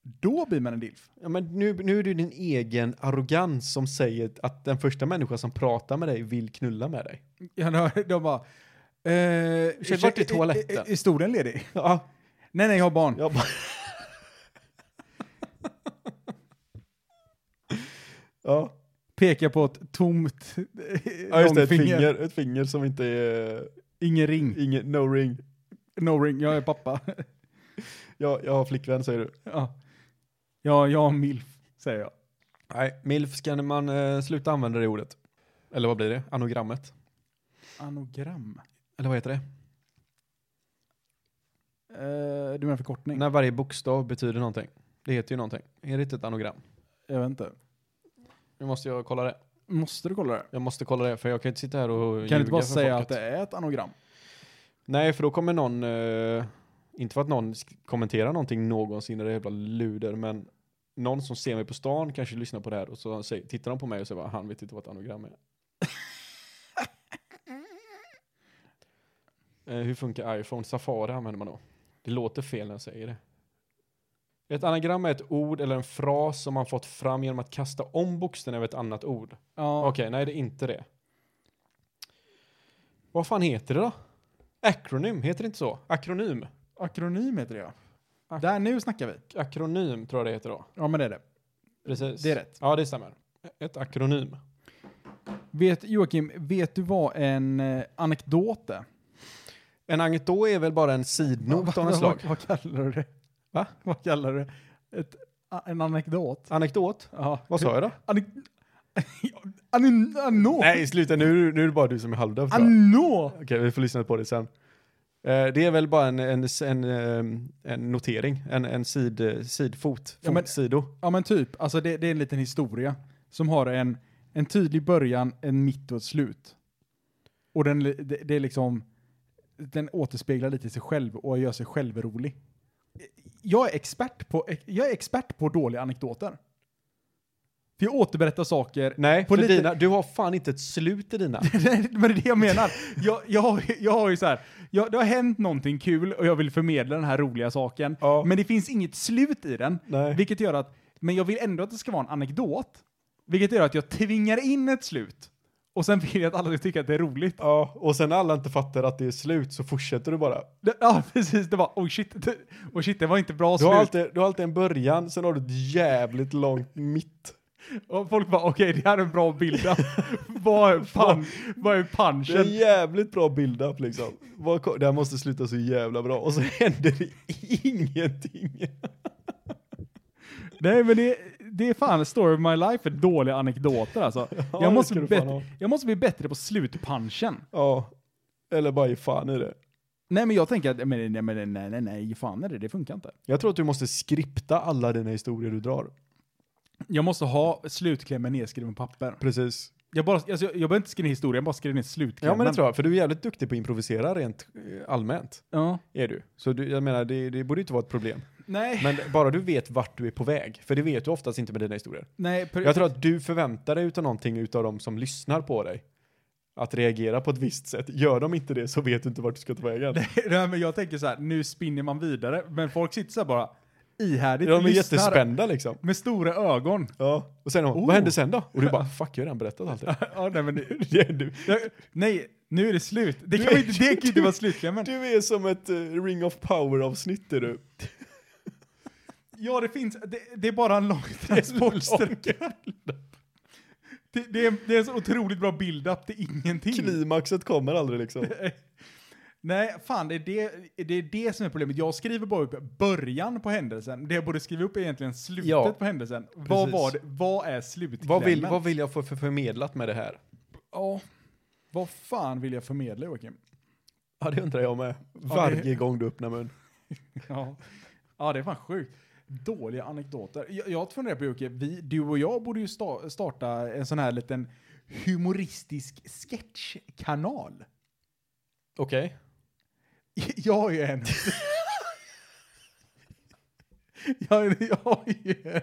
Då blir man en dilf.
Ja, men nu, nu är det din egen arrogans som säger att den första människan som pratar med dig vill knulla med dig.
Ja, då- de bara, eh,
Ursäkta, vart är
eh, eh,
toaletten?
Är stolen ledig?
Ja,
Nej, nej, jag har barn.
jag bara... Ja,
Pekar på ett tomt eh,
ja just det, ett
långfinger.
finger, Mm. ett finger som inte är,
Ingen ring.
ingen, no ring.
No ring, jag är pappa.
Jag, jag har flickvän säger du.
ja. ja, jag har milf, säger jag.
Nej, milf ska man eh, sluta använda det ordet. Eller vad blir det? Anogrammet?
Anogram?
Eller vad heter det?
Eh, du menar förkortning?
När varje bokstav betyder någonting. Det heter ju någonting. Är det inte ett anagram?
Jag vet inte.
Nu måste jag kolla det.
Måste du kolla det?
Jag måste kolla det för jag kan inte sitta här och
Kan du inte bara
för
säga
folket.
att det är ett anogram?
Nej, för då kommer någon, eh, inte för att någon sk- kommenterar någonting någonsin, det är jävla luder, men någon som ser mig på stan kanske lyssnar på det här och så säger, tittar de på mig och säger bara, han vet inte vad ett anagram är. eh, hur funkar iPhone? Safari använder man då. Det låter fel när jag säger det. Ett anagram är ett ord eller en fras som man fått fram genom att kasta om bokstäver över ett annat ord.
Ja.
Okej, nej det är inte det. Vad fan heter det då? Akronym, heter det inte så? Akronym?
Akronym heter det ja.
Ak-
Där nu snackar vi.
Akronym tror jag det heter då.
Ja men det är det.
Precis.
Det är rätt.
Ja, det stämmer. Ett akronym.
Vet, Joakim, vet du vad en eh, anekdot är?
En anekdot är väl bara en sidnot av
Vad-
en slag?
Vad, vad kallar du det?
Va?
Vad kallar du det? Ett, a- en anekdot?
Anekdot?
Ja.
Vad sa jag då?
Anek... Anen- Anå?
Nej, sluta nu, nu är det bara du som är halvdöv. tror jag.
Anå?
Okej, vi får lyssna på det sen. Eh, det är väl bara en, en, en, ehm, en notering, en, en sid, sidfot,
Ja, men-
fotsido.
Ja men typ, alltså det, det är en liten historia som har en, en tydlig början, en mitt och ett slut. Och den, li- det, det är liksom, den återspeglar lite sig själv och gör sig själv rolig. Jag är expert på, jag är expert på dåliga anekdoter. För jag återberättar saker.
Nej,
På
för
lite-
dina, du har fan inte ett slut i dina.
Nej, men det är det jag menar. Jag, jag, har, jag har ju så här, jag, det har hänt någonting kul och jag vill förmedla den här roliga saken.
Ja.
Men det finns inget slut i den.
Nej.
Vilket gör att, men jag vill ändå att det ska vara en anekdot. Vilket gör att jag tvingar in ett slut. Och sen vill jag att alla ska tycka att det är roligt.
Ja, och sen när alla inte fattar att det är slut så fortsätter du bara.
Det- Ja, precis. Det var, oh shit, det, oh shit, det var inte bra
Du har,
slut.
alltid, du har alltid en början, sen har du ett jävligt långt mitt.
Och folk bara, okej, det här är en bra bild. vad, är pan, vad är
Det är en
punchen?
jävligt bra build-up liksom. Vad ko- Det här måste sluta så jävla bra. Och så händer det ingenting.
Nej, men det, det är fan story of my life för dåliga anekdoter alltså.
det
jag, måste
ska
bli
du fan
bättre,
ha.
jag måste bli bättre på slutpunchen.
Ja, eller bara ge fan i det.
Nej, men jag tänker att, men, nej, men, nej, nej, nej, fan är det, det funkar inte.
Jag tror att du måste skripta alla dina historier du drar.
Jag måste ha slutklämmen nedskriven på papper.
Precis.
Jag, bara, alltså, jag, jag behöver inte skriva historien, jag bara skriver ner
Ja
slutklämmen.
men det tror jag, för du är jävligt duktig på att improvisera rent eh, allmänt.
Ja.
Är du. Så du, jag menar, det, det borde inte vara ett problem.
Nej,
Men bara du vet vart du är på väg, för det vet du oftast inte med dina historier.
nej. per-
Jag tror att du förväntar dig utav någonting utav de som lyssnar på dig. Att reagera på ett visst sätt. Gör de inte det så vet du inte vart du ska ta vägen.
nej, men jag tänker så här, nu spinner man vidare, men folk sitter så här bara ihärdigt
De är
lyssnar
jättespända liksom.
med stora ögon.
Ja. Och sen,
Oh.
vad hände sen då? Och du bara, fuck jag har redan berättat allt det.
ja, nej, men
det är du.
Jag- nej, nu är det slut. Det kan, ju
Du-
inte, det kan ju inte
du-
vara slutklämmen.
du är som ett eh, ring of power avsnitt är du.
Ja, det finns. Det, det är bara en lång transportsträcka. Det, det, är, det är en så otroligt bra build-up till ingenting.
Klimaxet kommer aldrig liksom.
Nej, fan, det är det, det är det som är problemet. Jag skriver bara upp början på händelsen. Det jag borde skriva upp är egentligen slutet
Ja,
på händelsen. Vad,
precis.
var det, vad är slutklämmen?
Vad vill, vad vill jag få för förmedlat med det här?
Ja, vad fan vill jag förmedla, Joakim?
Ja det undrar jag med. Varje gång du öppnar mun.
Ja. ja, det är fan sjukt. Dåliga anekdoter. Jag, jag funderar på Jocke, vi, du och jag borde ju sta, starta en sån här liten humoristisk sketchkanal.
Okej.
Jag är ju en. jag, är- jag är ju en.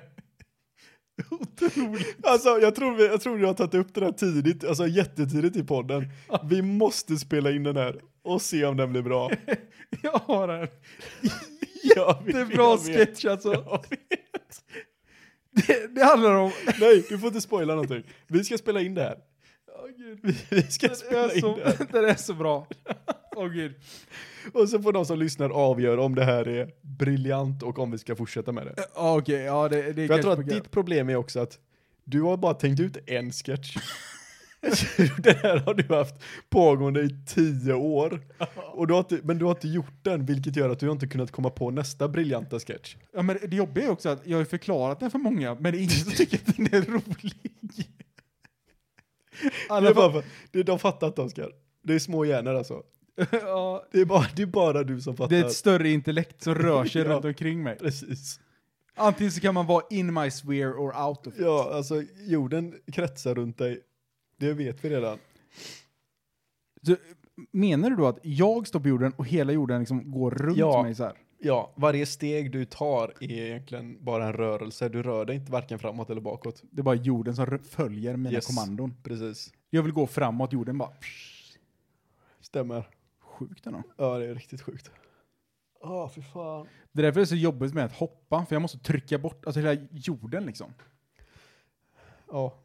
Otroligt.
Alltså jag tror, vi, jag tror du har tagit upp den här tidigt, alltså jättetidigt i podden. Vi måste spela in den här och se om den blir bra.
Jag har en
Ja, vi-
jättebra
jag vet.
sketch alltså. Det, det handlar om...
Nej, du får inte spoila någonting. Vi ska spela in det här. Vi, vi ska
Det
spela
är,
in
så,
det här.
det är så bra. Åh gud.
Och så får de som lyssnar avgöra om det här är briljant och om vi ska fortsätta med det.
Ja, Okej, ja det, det
För jag
kanske
tror att
funkar.
ditt problem är också att Du har bara tänkt ut en sketch. det här har du haft pågående i tio år. Och du har inte, men du har inte gjort den, vilket gör att du inte kunnat komma på nästa briljanta sketch.
Ja, men det jobbiga är också att jag har ju förklarat den för många, men det är ingen som tycker att den är rolig.
Det är
Alla
bara för, det, de fattar inte, Oskar. Det är små hjärnor alltså.
ja,
Det är bara, det är bara du som
det
fattar.
är ett större intellekt som rör sig
Ja.
runt omkring mig.
Precis.
Antingen så kan man vara in my sphere or out of it.
Ja, alltså jorden kretsar runt dig. Det vet vi redan.
Så, menar du då att jag står på jorden och hela jorden liksom går runt
Ja.
mig så här?
Ja, varje steg du tar är egentligen bara en rörelse. Du rör dig inte varken framåt eller bakåt.
Det är bara jorden som r- följer mina
Yes.
kommandon.
Precis.
Jag vill gå framåt, jorden bara... psh,
Stämmer.
Sjukt ändå.
Ja, det är riktigt sjukt. Ja, fy fan.
Det är därför det är så jobbigt med att hoppa, för jag måste trycka bort alltså hela jorden liksom.
Ja.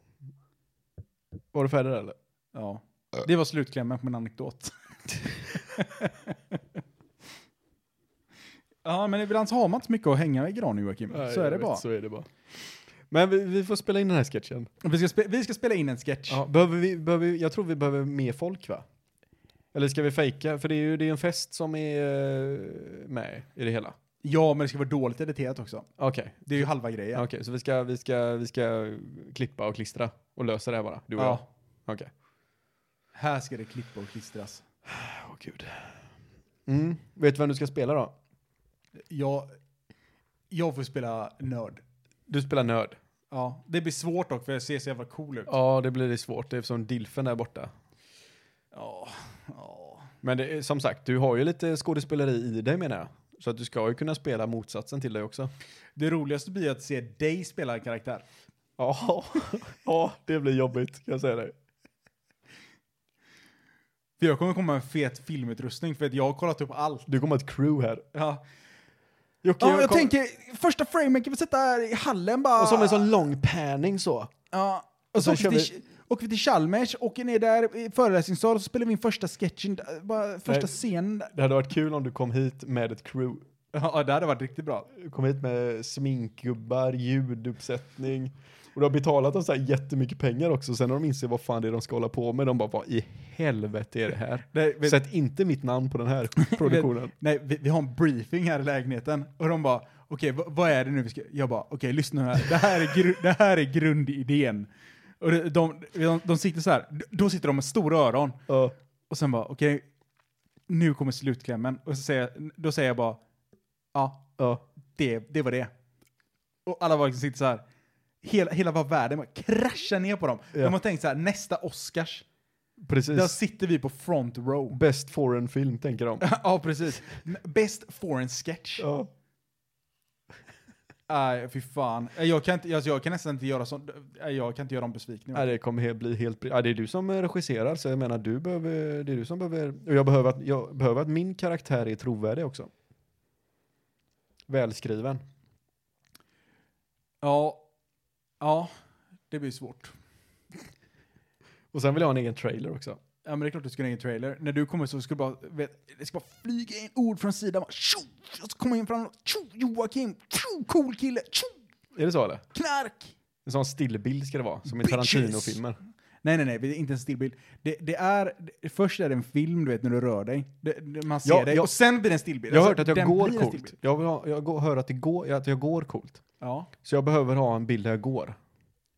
Var du färdig där, eller?
Ja. Det var slutklämmen på min anekdot. ja, men ibland så har man inte så mycket att hänga i granen Joakim. så är det bara.
Så är det bara. Men vi, vi får spela in den här sketchen.
Vi, ska spe- vi ska spela in en sketch.
Ja, behöver vi, behöver, vi- jag tror vi behöver mer folk va? Eller ska vi fejka? För det är ju det är en fest som är eh, med i det hela.
Ja, men det ska vara dåligt editerat också.
Okej,
Det är ju halva grejen.
Okej, så vi ska, vi, ska, vi ska klippa och klistra och lösa det här bara, du och
Ja.
jag? Okej.
Här ska det klippa och klistras.
Åh gud. Mm. Vet du vem du ska spela då?
Jag, jag får spela nörd.
Du spelar nörd.
Ja, det blir svårt dock för jag ser så jävla cool ut.
Ja, det blir det svårt eftersom Dilfen är borta.
Ja. ja.
Men det, är- som sagt, du har ju lite skådespeleri i dig menar jag. Så att du ska ju kunna spela motsatsen till dig också.
Det roligaste blir att se dig spela en karaktär.
Ja, ja det blir jobbigt kan jag säga dig.
För jag kommer komma med en fet filmutrustning för att jag har kollat upp allt.
Du kommer ha ett crew här.
Ja,
Jocke,
ja jag
kom-
tänker, första framen kan vi sätta här i hallen bara.
Och som en sån lång panning så.
Ja, och så
sen
åker
kör
vi till, åker vi till Chalmers, åker ner där i föreläsningssal och så spelar vi in första sketchen, där, bara första
Nej.
scenen. där.
Det hade varit kul om du kom hit med ett crew.
Ja, det hade varit riktigt bra.
Du kom hit med sminkgubbar, ljuduppsättning. Och du har betalat dem så här jättemycket pengar också. Sen när de inser vad fan det är de ska hålla på med, de bara vad i helvete är det här?
Nej, vet-
Sätt inte mitt namn på den här produktionen.
Nej, vi, vi har en briefing här i lägenheten och de bara okej, vad- vad är det nu vi ska... Jag bara okej, lyssna här. Det här är, gru- det här är grundidén. Och de, de, de, de sitter så här, D- då sitter de med stora öron
Ja.
och sen bara okej, nu kommer slutklämmen. Och så säger, jag- då säger jag bara ja,
Ja.
det, det var det. Och alla bara liksom sitter så här, hela, hela bara världen bara kraschar ner på dem.
Ja.
De har tänkt så här, nästa Oscars, där
Precis.
sitter vi på front row.
Best foreign film tänker de.
ja, precis. Best foreign sketch.
Ja.
Nej, fy fan. Jag kan, inte, alltså jag kan nästan inte göra sånt. Nej, Jag kan inte göra dem besvikna.
Nej, det kommer he- bli helt... Ja, det är du som eh, regisserar, så jag menar du behöver... Det är du som behöver... Och jag behöver att, jag behöver att min karaktär är trovärdig också. Välskriven.
Ja. Ja, det blir svårt.
Och sen vill jag ha en egen trailer också.
Ja, men det är klart du ska ha en egen trailer. När du kommer så ska du bara, vet, det ska bara flyga in ord från sidan. Bara, tjo, jag ska komma in fram. Tjo, Joakim. Tjo, cool kille. Tjo,
Är det så eller?
knark.
En sån stillbild ska det vara, som i
Bitches. Alltså,
Tarantino-filmer.
Nej, nej, nej. Det är inte en stillbild. Det, det är, det, först är det en film, du vet, när du rör dig. Det, det, man ser
Ja,
dig.
ja.
Och sen blir det en stillbild.
Jag har
Alltså,
hört att jag
den
går
blir en
coolt.
stillbild.
Jag, vill ha, jag går, hör att, det går, att jag går coolt.
Ja.
Så jag behöver ha en bild där jag går.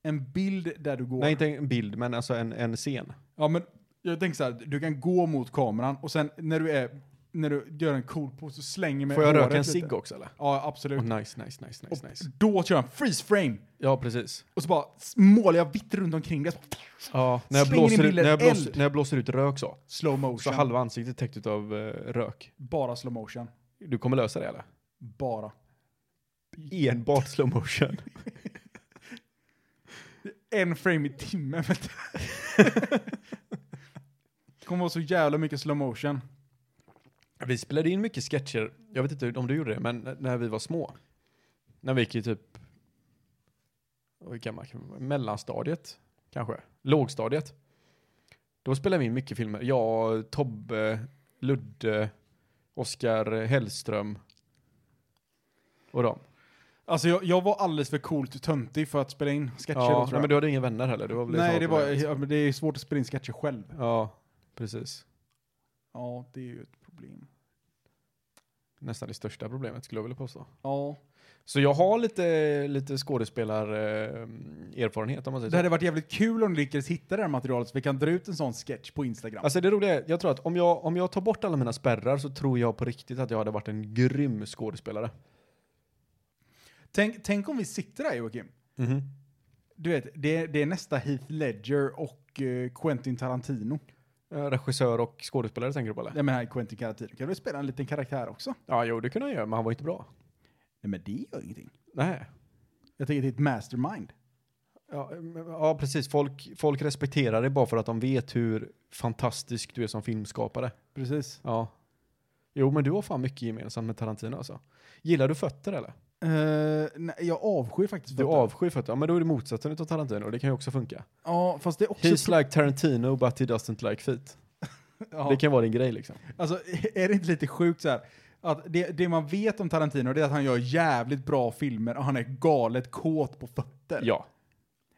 En bild där du går.
Nej, inte en bild, men alltså en, en scen.
Ja, men jag tänker så här, du kan gå mot kameran och sen när du är, när du gör en cool pose så slänger med
Får jag
håret
röka en
lite.
cigg också eller?
Ja, absolut.
Oh, nice, nice, nice, nice, nice.
Då kör jag en freeze frame
Ja, precis.
och så bara s- målar jag vitt runt omkring det. Så-
Ja, när, jag
Slänger in
blåser ut,
bilder,
när, jag blåser,
eld.
när jag blåser ut rök så.
Slow
Så
motion.
halva ansiktet täckt av rök.
Bara slow motion.
Du kommer lösa det eller?
Bara.
Enbart slow motion.
En frame i timmen. vet du. det kommer vara så jävla mycket slow motion.
Vi spelade in mycket sketcher, jag vet inte om du gjorde det, men n- när vi var små. När vi gick i typ, hur gammal kan man vara? mellanstadiet kanske, lågstadiet. Då spelade vi in mycket filmer. Jag, Tobbe, Ludde, Oskar Hellström och dem.
Alltså jag, jag var alldeles för coolt töntig för att spela in sketcher då,
Ja,
tror
nej,
jag.
men du hade inga vänner heller. Det var väl
Nej,
så
det, var,
problemet.
ja, men det är svårt att spela in sketcher själv.
Ja, precis.
Ja, det är ju ett problem.
Nästan det största problemet skulle jag vilja påstå.
Ja.
Så jag har lite, lite skådespelarerfarenhet om man säger
Det
så.
hade varit jävligt kul om du lyckades hitta det här materialet så vi kan dra ut en sån sketch på Instagram.
Alltså det roliga är, jag tror att om jag, om jag tar bort alla mina spärrar så tror jag på riktigt att jag hade varit en grym skådespelare.
Tänk, tänk om vi sitter där Joakim.
Mhm.
Du vet, det, det är nästa Heath Ledger och eh, Quentin Tarantino.
Eh, Regissör och skådespelare tänker du på eller?
Jag menar Quentin Tarantino kan du spela en liten karaktär också?
Ja, jo det kunde han göra, men han var inte bra.
Nej men det gör ingenting.
Nej.
Jag tänker till ett mastermind.
Ja, men- ja precis. Folk, folk respekterar dig bara för att de vet hur fantastisk du är som filmskapare.
Precis.
Ja. Jo, men du har fan mycket gemensamt med Tarantino alltså. Gillar du fötter eller?
Eh, nej, jag avskyr faktiskt
Du
fötter.
avskyr fötter. Ja, men då är det motsatsen utav Tarantino. Det kan ju också funka.
Ja, fast det är också...
He's like Tarantino but he doesn't like feet.
ja.
Det kan vara din grej liksom.
Alltså, är det inte lite sjukt så här? Att det, det man vet om Tarantino det är att han gör jävligt bra filmer och han är galet kåt på fötter.
Ja.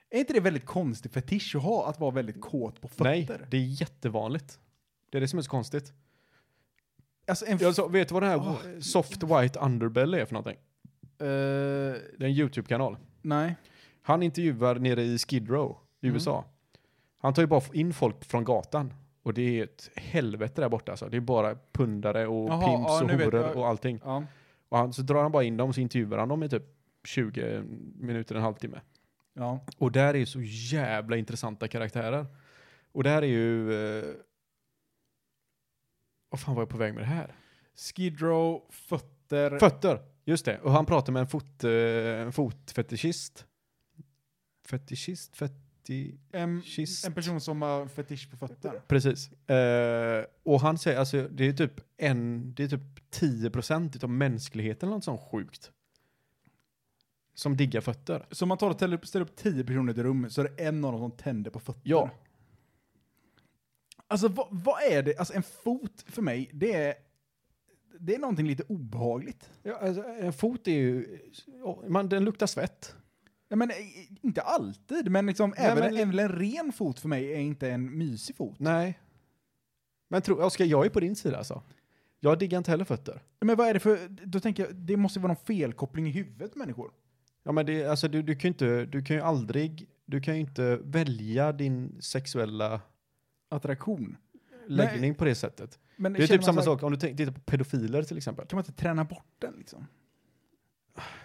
Är inte det väldigt konstig fetisch att ha, att vara väldigt kåt på fötter?
Nej, det är jättevanligt. Det är det som är så konstigt.
Alltså en...
Jag sa, vet du vad den här soft white underbelly är för någonting?
Eh,
Det är en YouTube-kanal.
nej.
Han intervjuar nere i Skid Row i
Mm.
USA. Han tar ju bara in folk från gatan. Och det är ett helvete där borta alltså. Det är bara pundare och
Jaha,
pimps
ja,
och
nu vet
horor
jag.
och allting.
Ja.
Och han, så drar han bara in dem och så intervjuar han dem i typ 20 minuter, en halvtimme.
Ja.
Och där är ju så jävla intressanta karaktärer. Och där är ju... Eh, vad fan var jag på väg med det här?
Skid Row, fötter.
Fötter, just det. Och han pratar med en, fot, eh, en fotfetischist. Fetischist? Feti...
en,
Kist.
en person som har fetisch på fötter.
Precis. Eh, och han säger, alltså det är typ en, det är typ 10% utav mänskligheten eller något sånt sjukt. Som diggar fötter.
Så om man tar och ställer upp, ställer upp tio personer i ett rum så är det en av dem som tänder på fötter.
Ja.
Alltså vad, vad är det? Alltså en fot för mig, det är, det är någonting lite obehagligt.
ja alltså, en fot är ju, ja, man, den luktar svett.
Ja, men, eh, inte alltid, men, liksom,
Nej,
även,
men-
även en ren fot för mig är inte en mysig fot.
Nej. Men tro, Oskar, jag är på din sida alltså. Jag diggar inte heller fötter.
Men vad är det för, då tänker jag, det måste vara någon felkoppling i huvudet människor.
Ja men det, alltså du, du kan ju inte, du kan ju aldrig, du kan ju inte välja din sexuella
Attraktion.
läggning
Nej.
på det sättet.
Men
Det
känner
är typ
man
samma
så här,
sak om du tänk- tittar på pedofiler till exempel.
Kan man inte träna bort den liksom?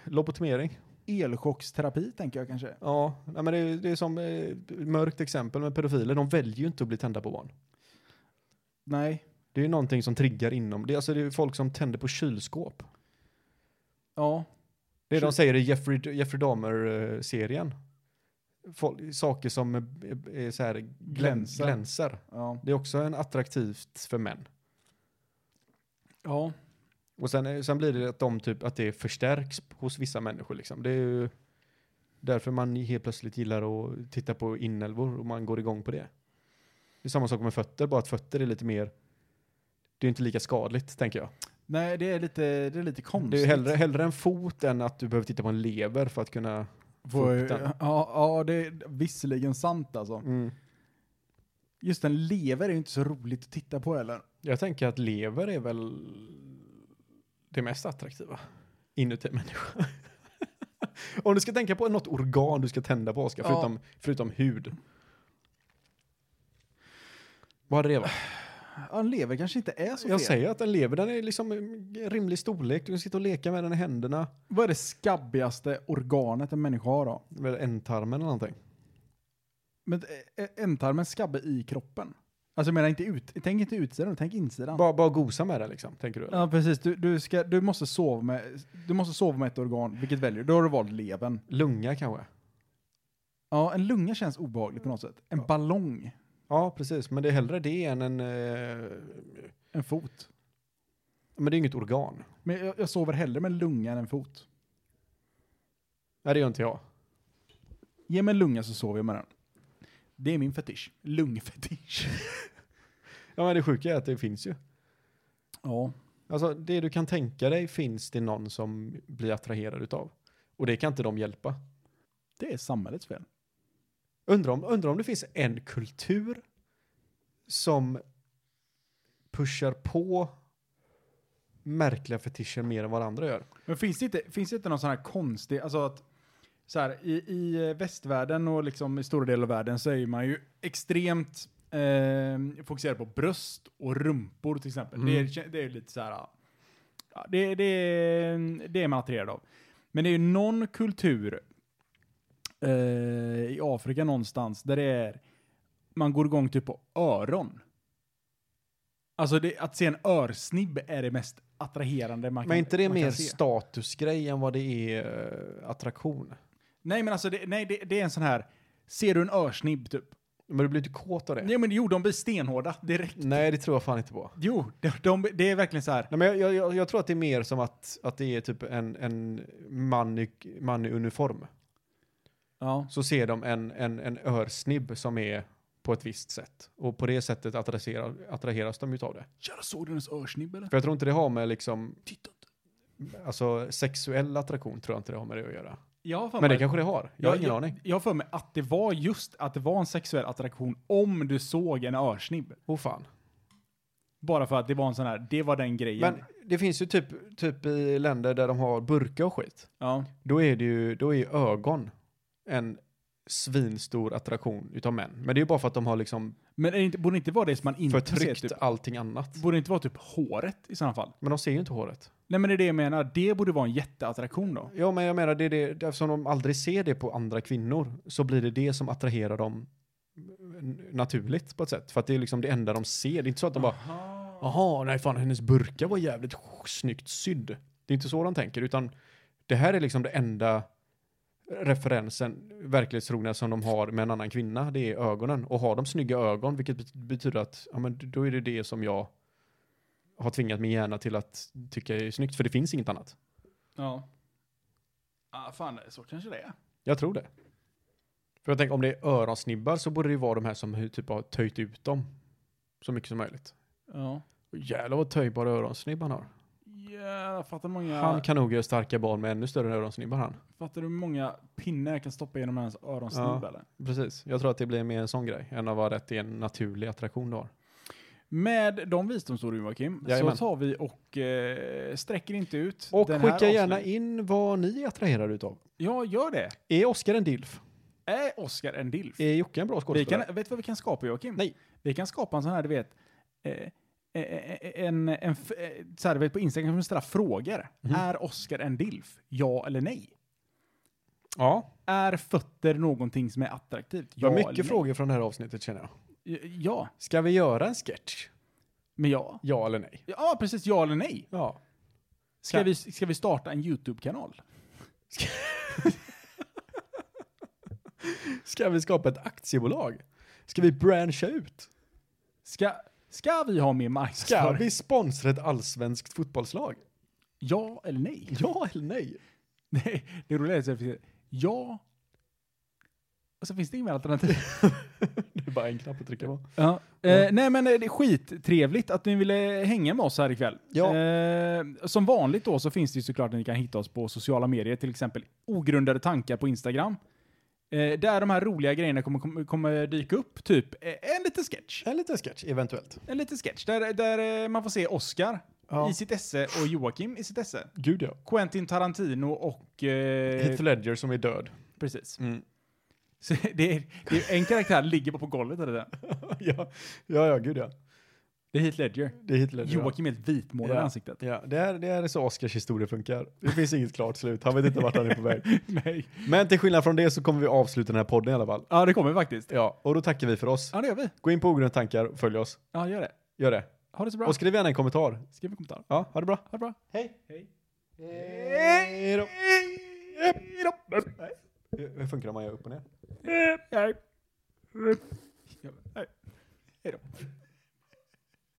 Lobotomering.
Elchocksterapi tänker jag kanske.
Ja, nej, men det, det är som eh, mörkt exempel med pedofiler, de väljer ju inte att bli tända på barn.
Nej.
Det är ju någonting som triggar inom, det är alltså det är ju folk som tänder på kylskåp.
Ja.
Det är de
Kyl-
säger i Jeffrey, Jeffrey Dahmer-serien. Folk, saker som eh, är så här glän,
Glänser.
glänser.
Ja.
Det är också en attraktivt för män.
Ja.
Och sen, sen blir det att de typ, att det förstärks hos vissa människor liksom. Det är ju därför man helt plötsligt gillar att titta på inälvor och man går igång på det. Det är samma sak med fötter, bara att fötter är lite mer, det är inte lika skadligt tänker jag.
Nej, det är lite, det är lite konstigt.
Det är ju hellre, hellre en fot än att du behöver titta på en lever för att kunna...
Får-
Fort den.
ja, ja, det är visserligen sant alltså.
mm.
Just en lever är ju inte så roligt att titta på heller.
Jag tänker att lever är väl det mest attraktiva inuti en människa. Om du ska tänka på något organ du ska tända på, Oskar,
Ja.
förutom, förutom hud. Vad hade det varit?
Ah, Ja, en lever kanske inte är så
Jag
fel.
säger att en lever, den är liksom en rimlig storlek. Du kan sitta och leka med den i händerna.
Vad är det skabbigaste organet en människa har då?
Eller ändtarmen eller någonting.
Men eh, eh, ändtarmen skabbe i kroppen. Alltså jag menar inte ut, tänk inte utsidan, tänk insidan.
Bara, bara gosa med den liksom, tänker du? Eller?
ja precis, du, du, ska, du, måste sova med, du måste sova med ett organ, vilket väljer du? Då har du valt levern.
Lunga kanske?
Ja, en lunga känns obehaglig på något sätt. En ballong,
Ja, precis. Men det är hellre det än en... Eh,
en fot.
men det är inget organ.
Men jag, jag sover hellre med en lunga än en fot.
Nej, det gör inte jag.
Ge mig en lunga så sover jag med den. Det är min fetisch. Lungfetisch.
Ja, men det sjuka är att det finns ju.
ja.
Alltså det du kan tänka dig finns det någon som blir attraherad utav. Och det kan inte de hjälpa.
Det är samhällets fel.
Undrar om, undrar om det finns en kultur som pushar på märkliga fetischer mer än vad andra gör.
Men finns det inte, finns det inte någon sån här konstig, alltså att så här, i, i västvärlden och liksom i stora delar av världen så är man ju extremt eh, fokuserad på bröst och rumpor till exempel.
Mm.
Det, är, det är ju lite så här, ja, det, det, är- det är man attraherad av. Men det är ju någon kultur eh, i Afrika någonstans där det är, man går igång typ på öron. Alltså det, att se en örsnibb är det mest attraherande man kan
Men inte det är
man kan
mer
se.
statusgrej än vad det är eh, attraktion?
Nej, men alltså, det, nej, det, det är en sån här, ser du en örsnibb typ?
Men du blir inte kåt av det?
Nej, men jo, de blir stenhårda direkt.
Nej, det tror jag fan inte på.
Jo, de, de, det är verkligen så här.
Nej, men jag, jag- jag, jag tror att det är mer som att, att det är typ en, en man, i, man i uniform.
Ja.
Så ser de en, en, en örsnibb som är på ett visst sätt. Och på det sättet attraherar, attraheras de utav det.
Tjena, såg du hennes örsnibb eller?
För jag tror inte det har med liksom,
Titta inte.
alltså sexuell attraktion tror jag inte det har med det att göra.
Jag har för
Men det
mig-
kanske det har. Jag har ingen
jag,
aning.
Jag har för mig att det var just att det var en sexuell attraktion om du såg en örsnibb.
Åh fan.
Bara för att det var en sån här, det var den grejen.
Men det finns ju typ, typ i länder där de har burka och skit.
ja.
Då är det ju, då är ju ögon en svinstor attraktion utav män. Men det är ju bara för att de har liksom
men är det inte, borde det inte vara det som man inte ser?
förtryckt
Typ,
allting annat.
borde det inte vara typ håret i sådana fall?
Men de ser ju inte håret.
Nej, men det är det jag menar. Det borde vara en jätteattraktion då.
Ja, men jag menar, det är det, eftersom de aldrig ser det på andra kvinnor så blir det det som attraherar dem n- naturligt på ett sätt. För att det är liksom det enda de ser. Det är inte så att de bara, jaha, nej fan, hennes burka var jävligt snyggt sydd. Det är inte så de tänker, utan det här är liksom det enda referensen, verklighetstrogna, som de har med en annan kvinna, det är ögonen. Och har de snygga ögon, vilket bet- betyder att, ja men då är det det som jag har tvingat min hjärna till att tycka är snyggt, för det finns inget annat.
Ja. Ah, fan, så kanske det är.
Jag tror det. För jag tänker om det är öronsnibbar så borde det ju vara de här som hur typ har töjt ut dem. Så mycket som möjligt.
Ja.
Och Jävlar vad töjbara öronsnibbar han har.
Jävlar, fattar du hur många,
Han kan nog göra starka barn med ännu större öronsnibbar han.
fattar du hur många pinnar jag kan stoppa genom hans öronsnibb
Ja.
eller?
Precis. Jag tror att det blir mer en sån grej än att vara rätt i en naturlig attraktion du har.
Med de visdomsorden Joakim,
Jajamän.
så tar vi och eh, sträcker inte ut
Och
den här
skicka gärna
avsnitt-
in vad ni är attraherade utav.
Ja, gör det.
Är Oscar en dilf?
Är Oscar en dilf?
Är Jocke en bra
Vi kan,
skådespelare?
vet du vad vi kan skapa Joakim?
Nej.
Vi kan skapa en sån här, du vet, eh, eh, eh, en, en, f- eh, så här, du vet, på Instagram kan man ställa frågor.
Mhm.
Är Oscar en dilf? Ja eller nej?
Ja,
Är fötter någonting som är attraktivt?
det
Ja
var
eller
mycket
nej?
frågor från det här avsnittet känner jag.
Ja,
Ska vi göra en sketch?
men ja.
Ja eller nej?
Ja, precis. Ja eller nej?
Ja.
Ska,
Kan-
vi, ska vi starta en YouTube-kanal?
Ska vi skapa ett aktiebolag? Ska vi branscha ut?
Ska, ska vi ha mer
Ska
marknadsföring?
vi sponsra ett allsvenskt fotbollslag?
Ja eller nej?
Ja eller nej?
Nej, det roliga är att det finns ja. Och så finns det inget mer alternativ.
Det är bara en knapp att trycka på.
Ja. Eh, nej men eh, det är skittrevligt att ni ville hänga med oss här ikväll.
Ja.
Eh, som vanligt då så finns det ju såklart att ni kan hitta oss på sociala medier, till exempel ogrundade tankar på Instagram. Eh, där de här roliga grejerna kommer, kommer, kommer dyka upp, typ eh, en liten sketch.
En liten sketch, eventuellt.
En liten sketch där, där eh, man får se Oscar
Ja.
i sitt esse och Joakim i sitt esse.
Gud ja.
Quentin Tarantino och... Eh,
Heath Ledger som är död.
precis.
Mm.
Så det är, det är en karaktär ligger bara på golvet. Eller det, där.
ja, ja, ja, gud ja.
det är Heath Ledger.
Det är Heath Ledger. ja.
Joakim är helt vitmålad i
Ja.
ansiktet.
Ja, det är, det är så Oscars historia funkar. Det finns inget klart slut. Han vet inte vart han är på väg.
Nej.
Men till skillnad från det så kommer vi avsluta den här podden i alla fall.
Ja, det kommer faktiskt.
Ja, och då tackar vi för oss.
Ja, det gör vi.
Gå in på Ogrundade tankar och följ oss.
Ja, gör det.
Gör det.
Ha det så bra.
Och skriv gärna en kommentar.
Skriv en kommentar.
Ja, ha det bra.
Ha det bra.
Hej.
Hej.
Hej då. Nej. Hur hur funkar det om man gör upp och ner?
Hej. Hej. Hej då.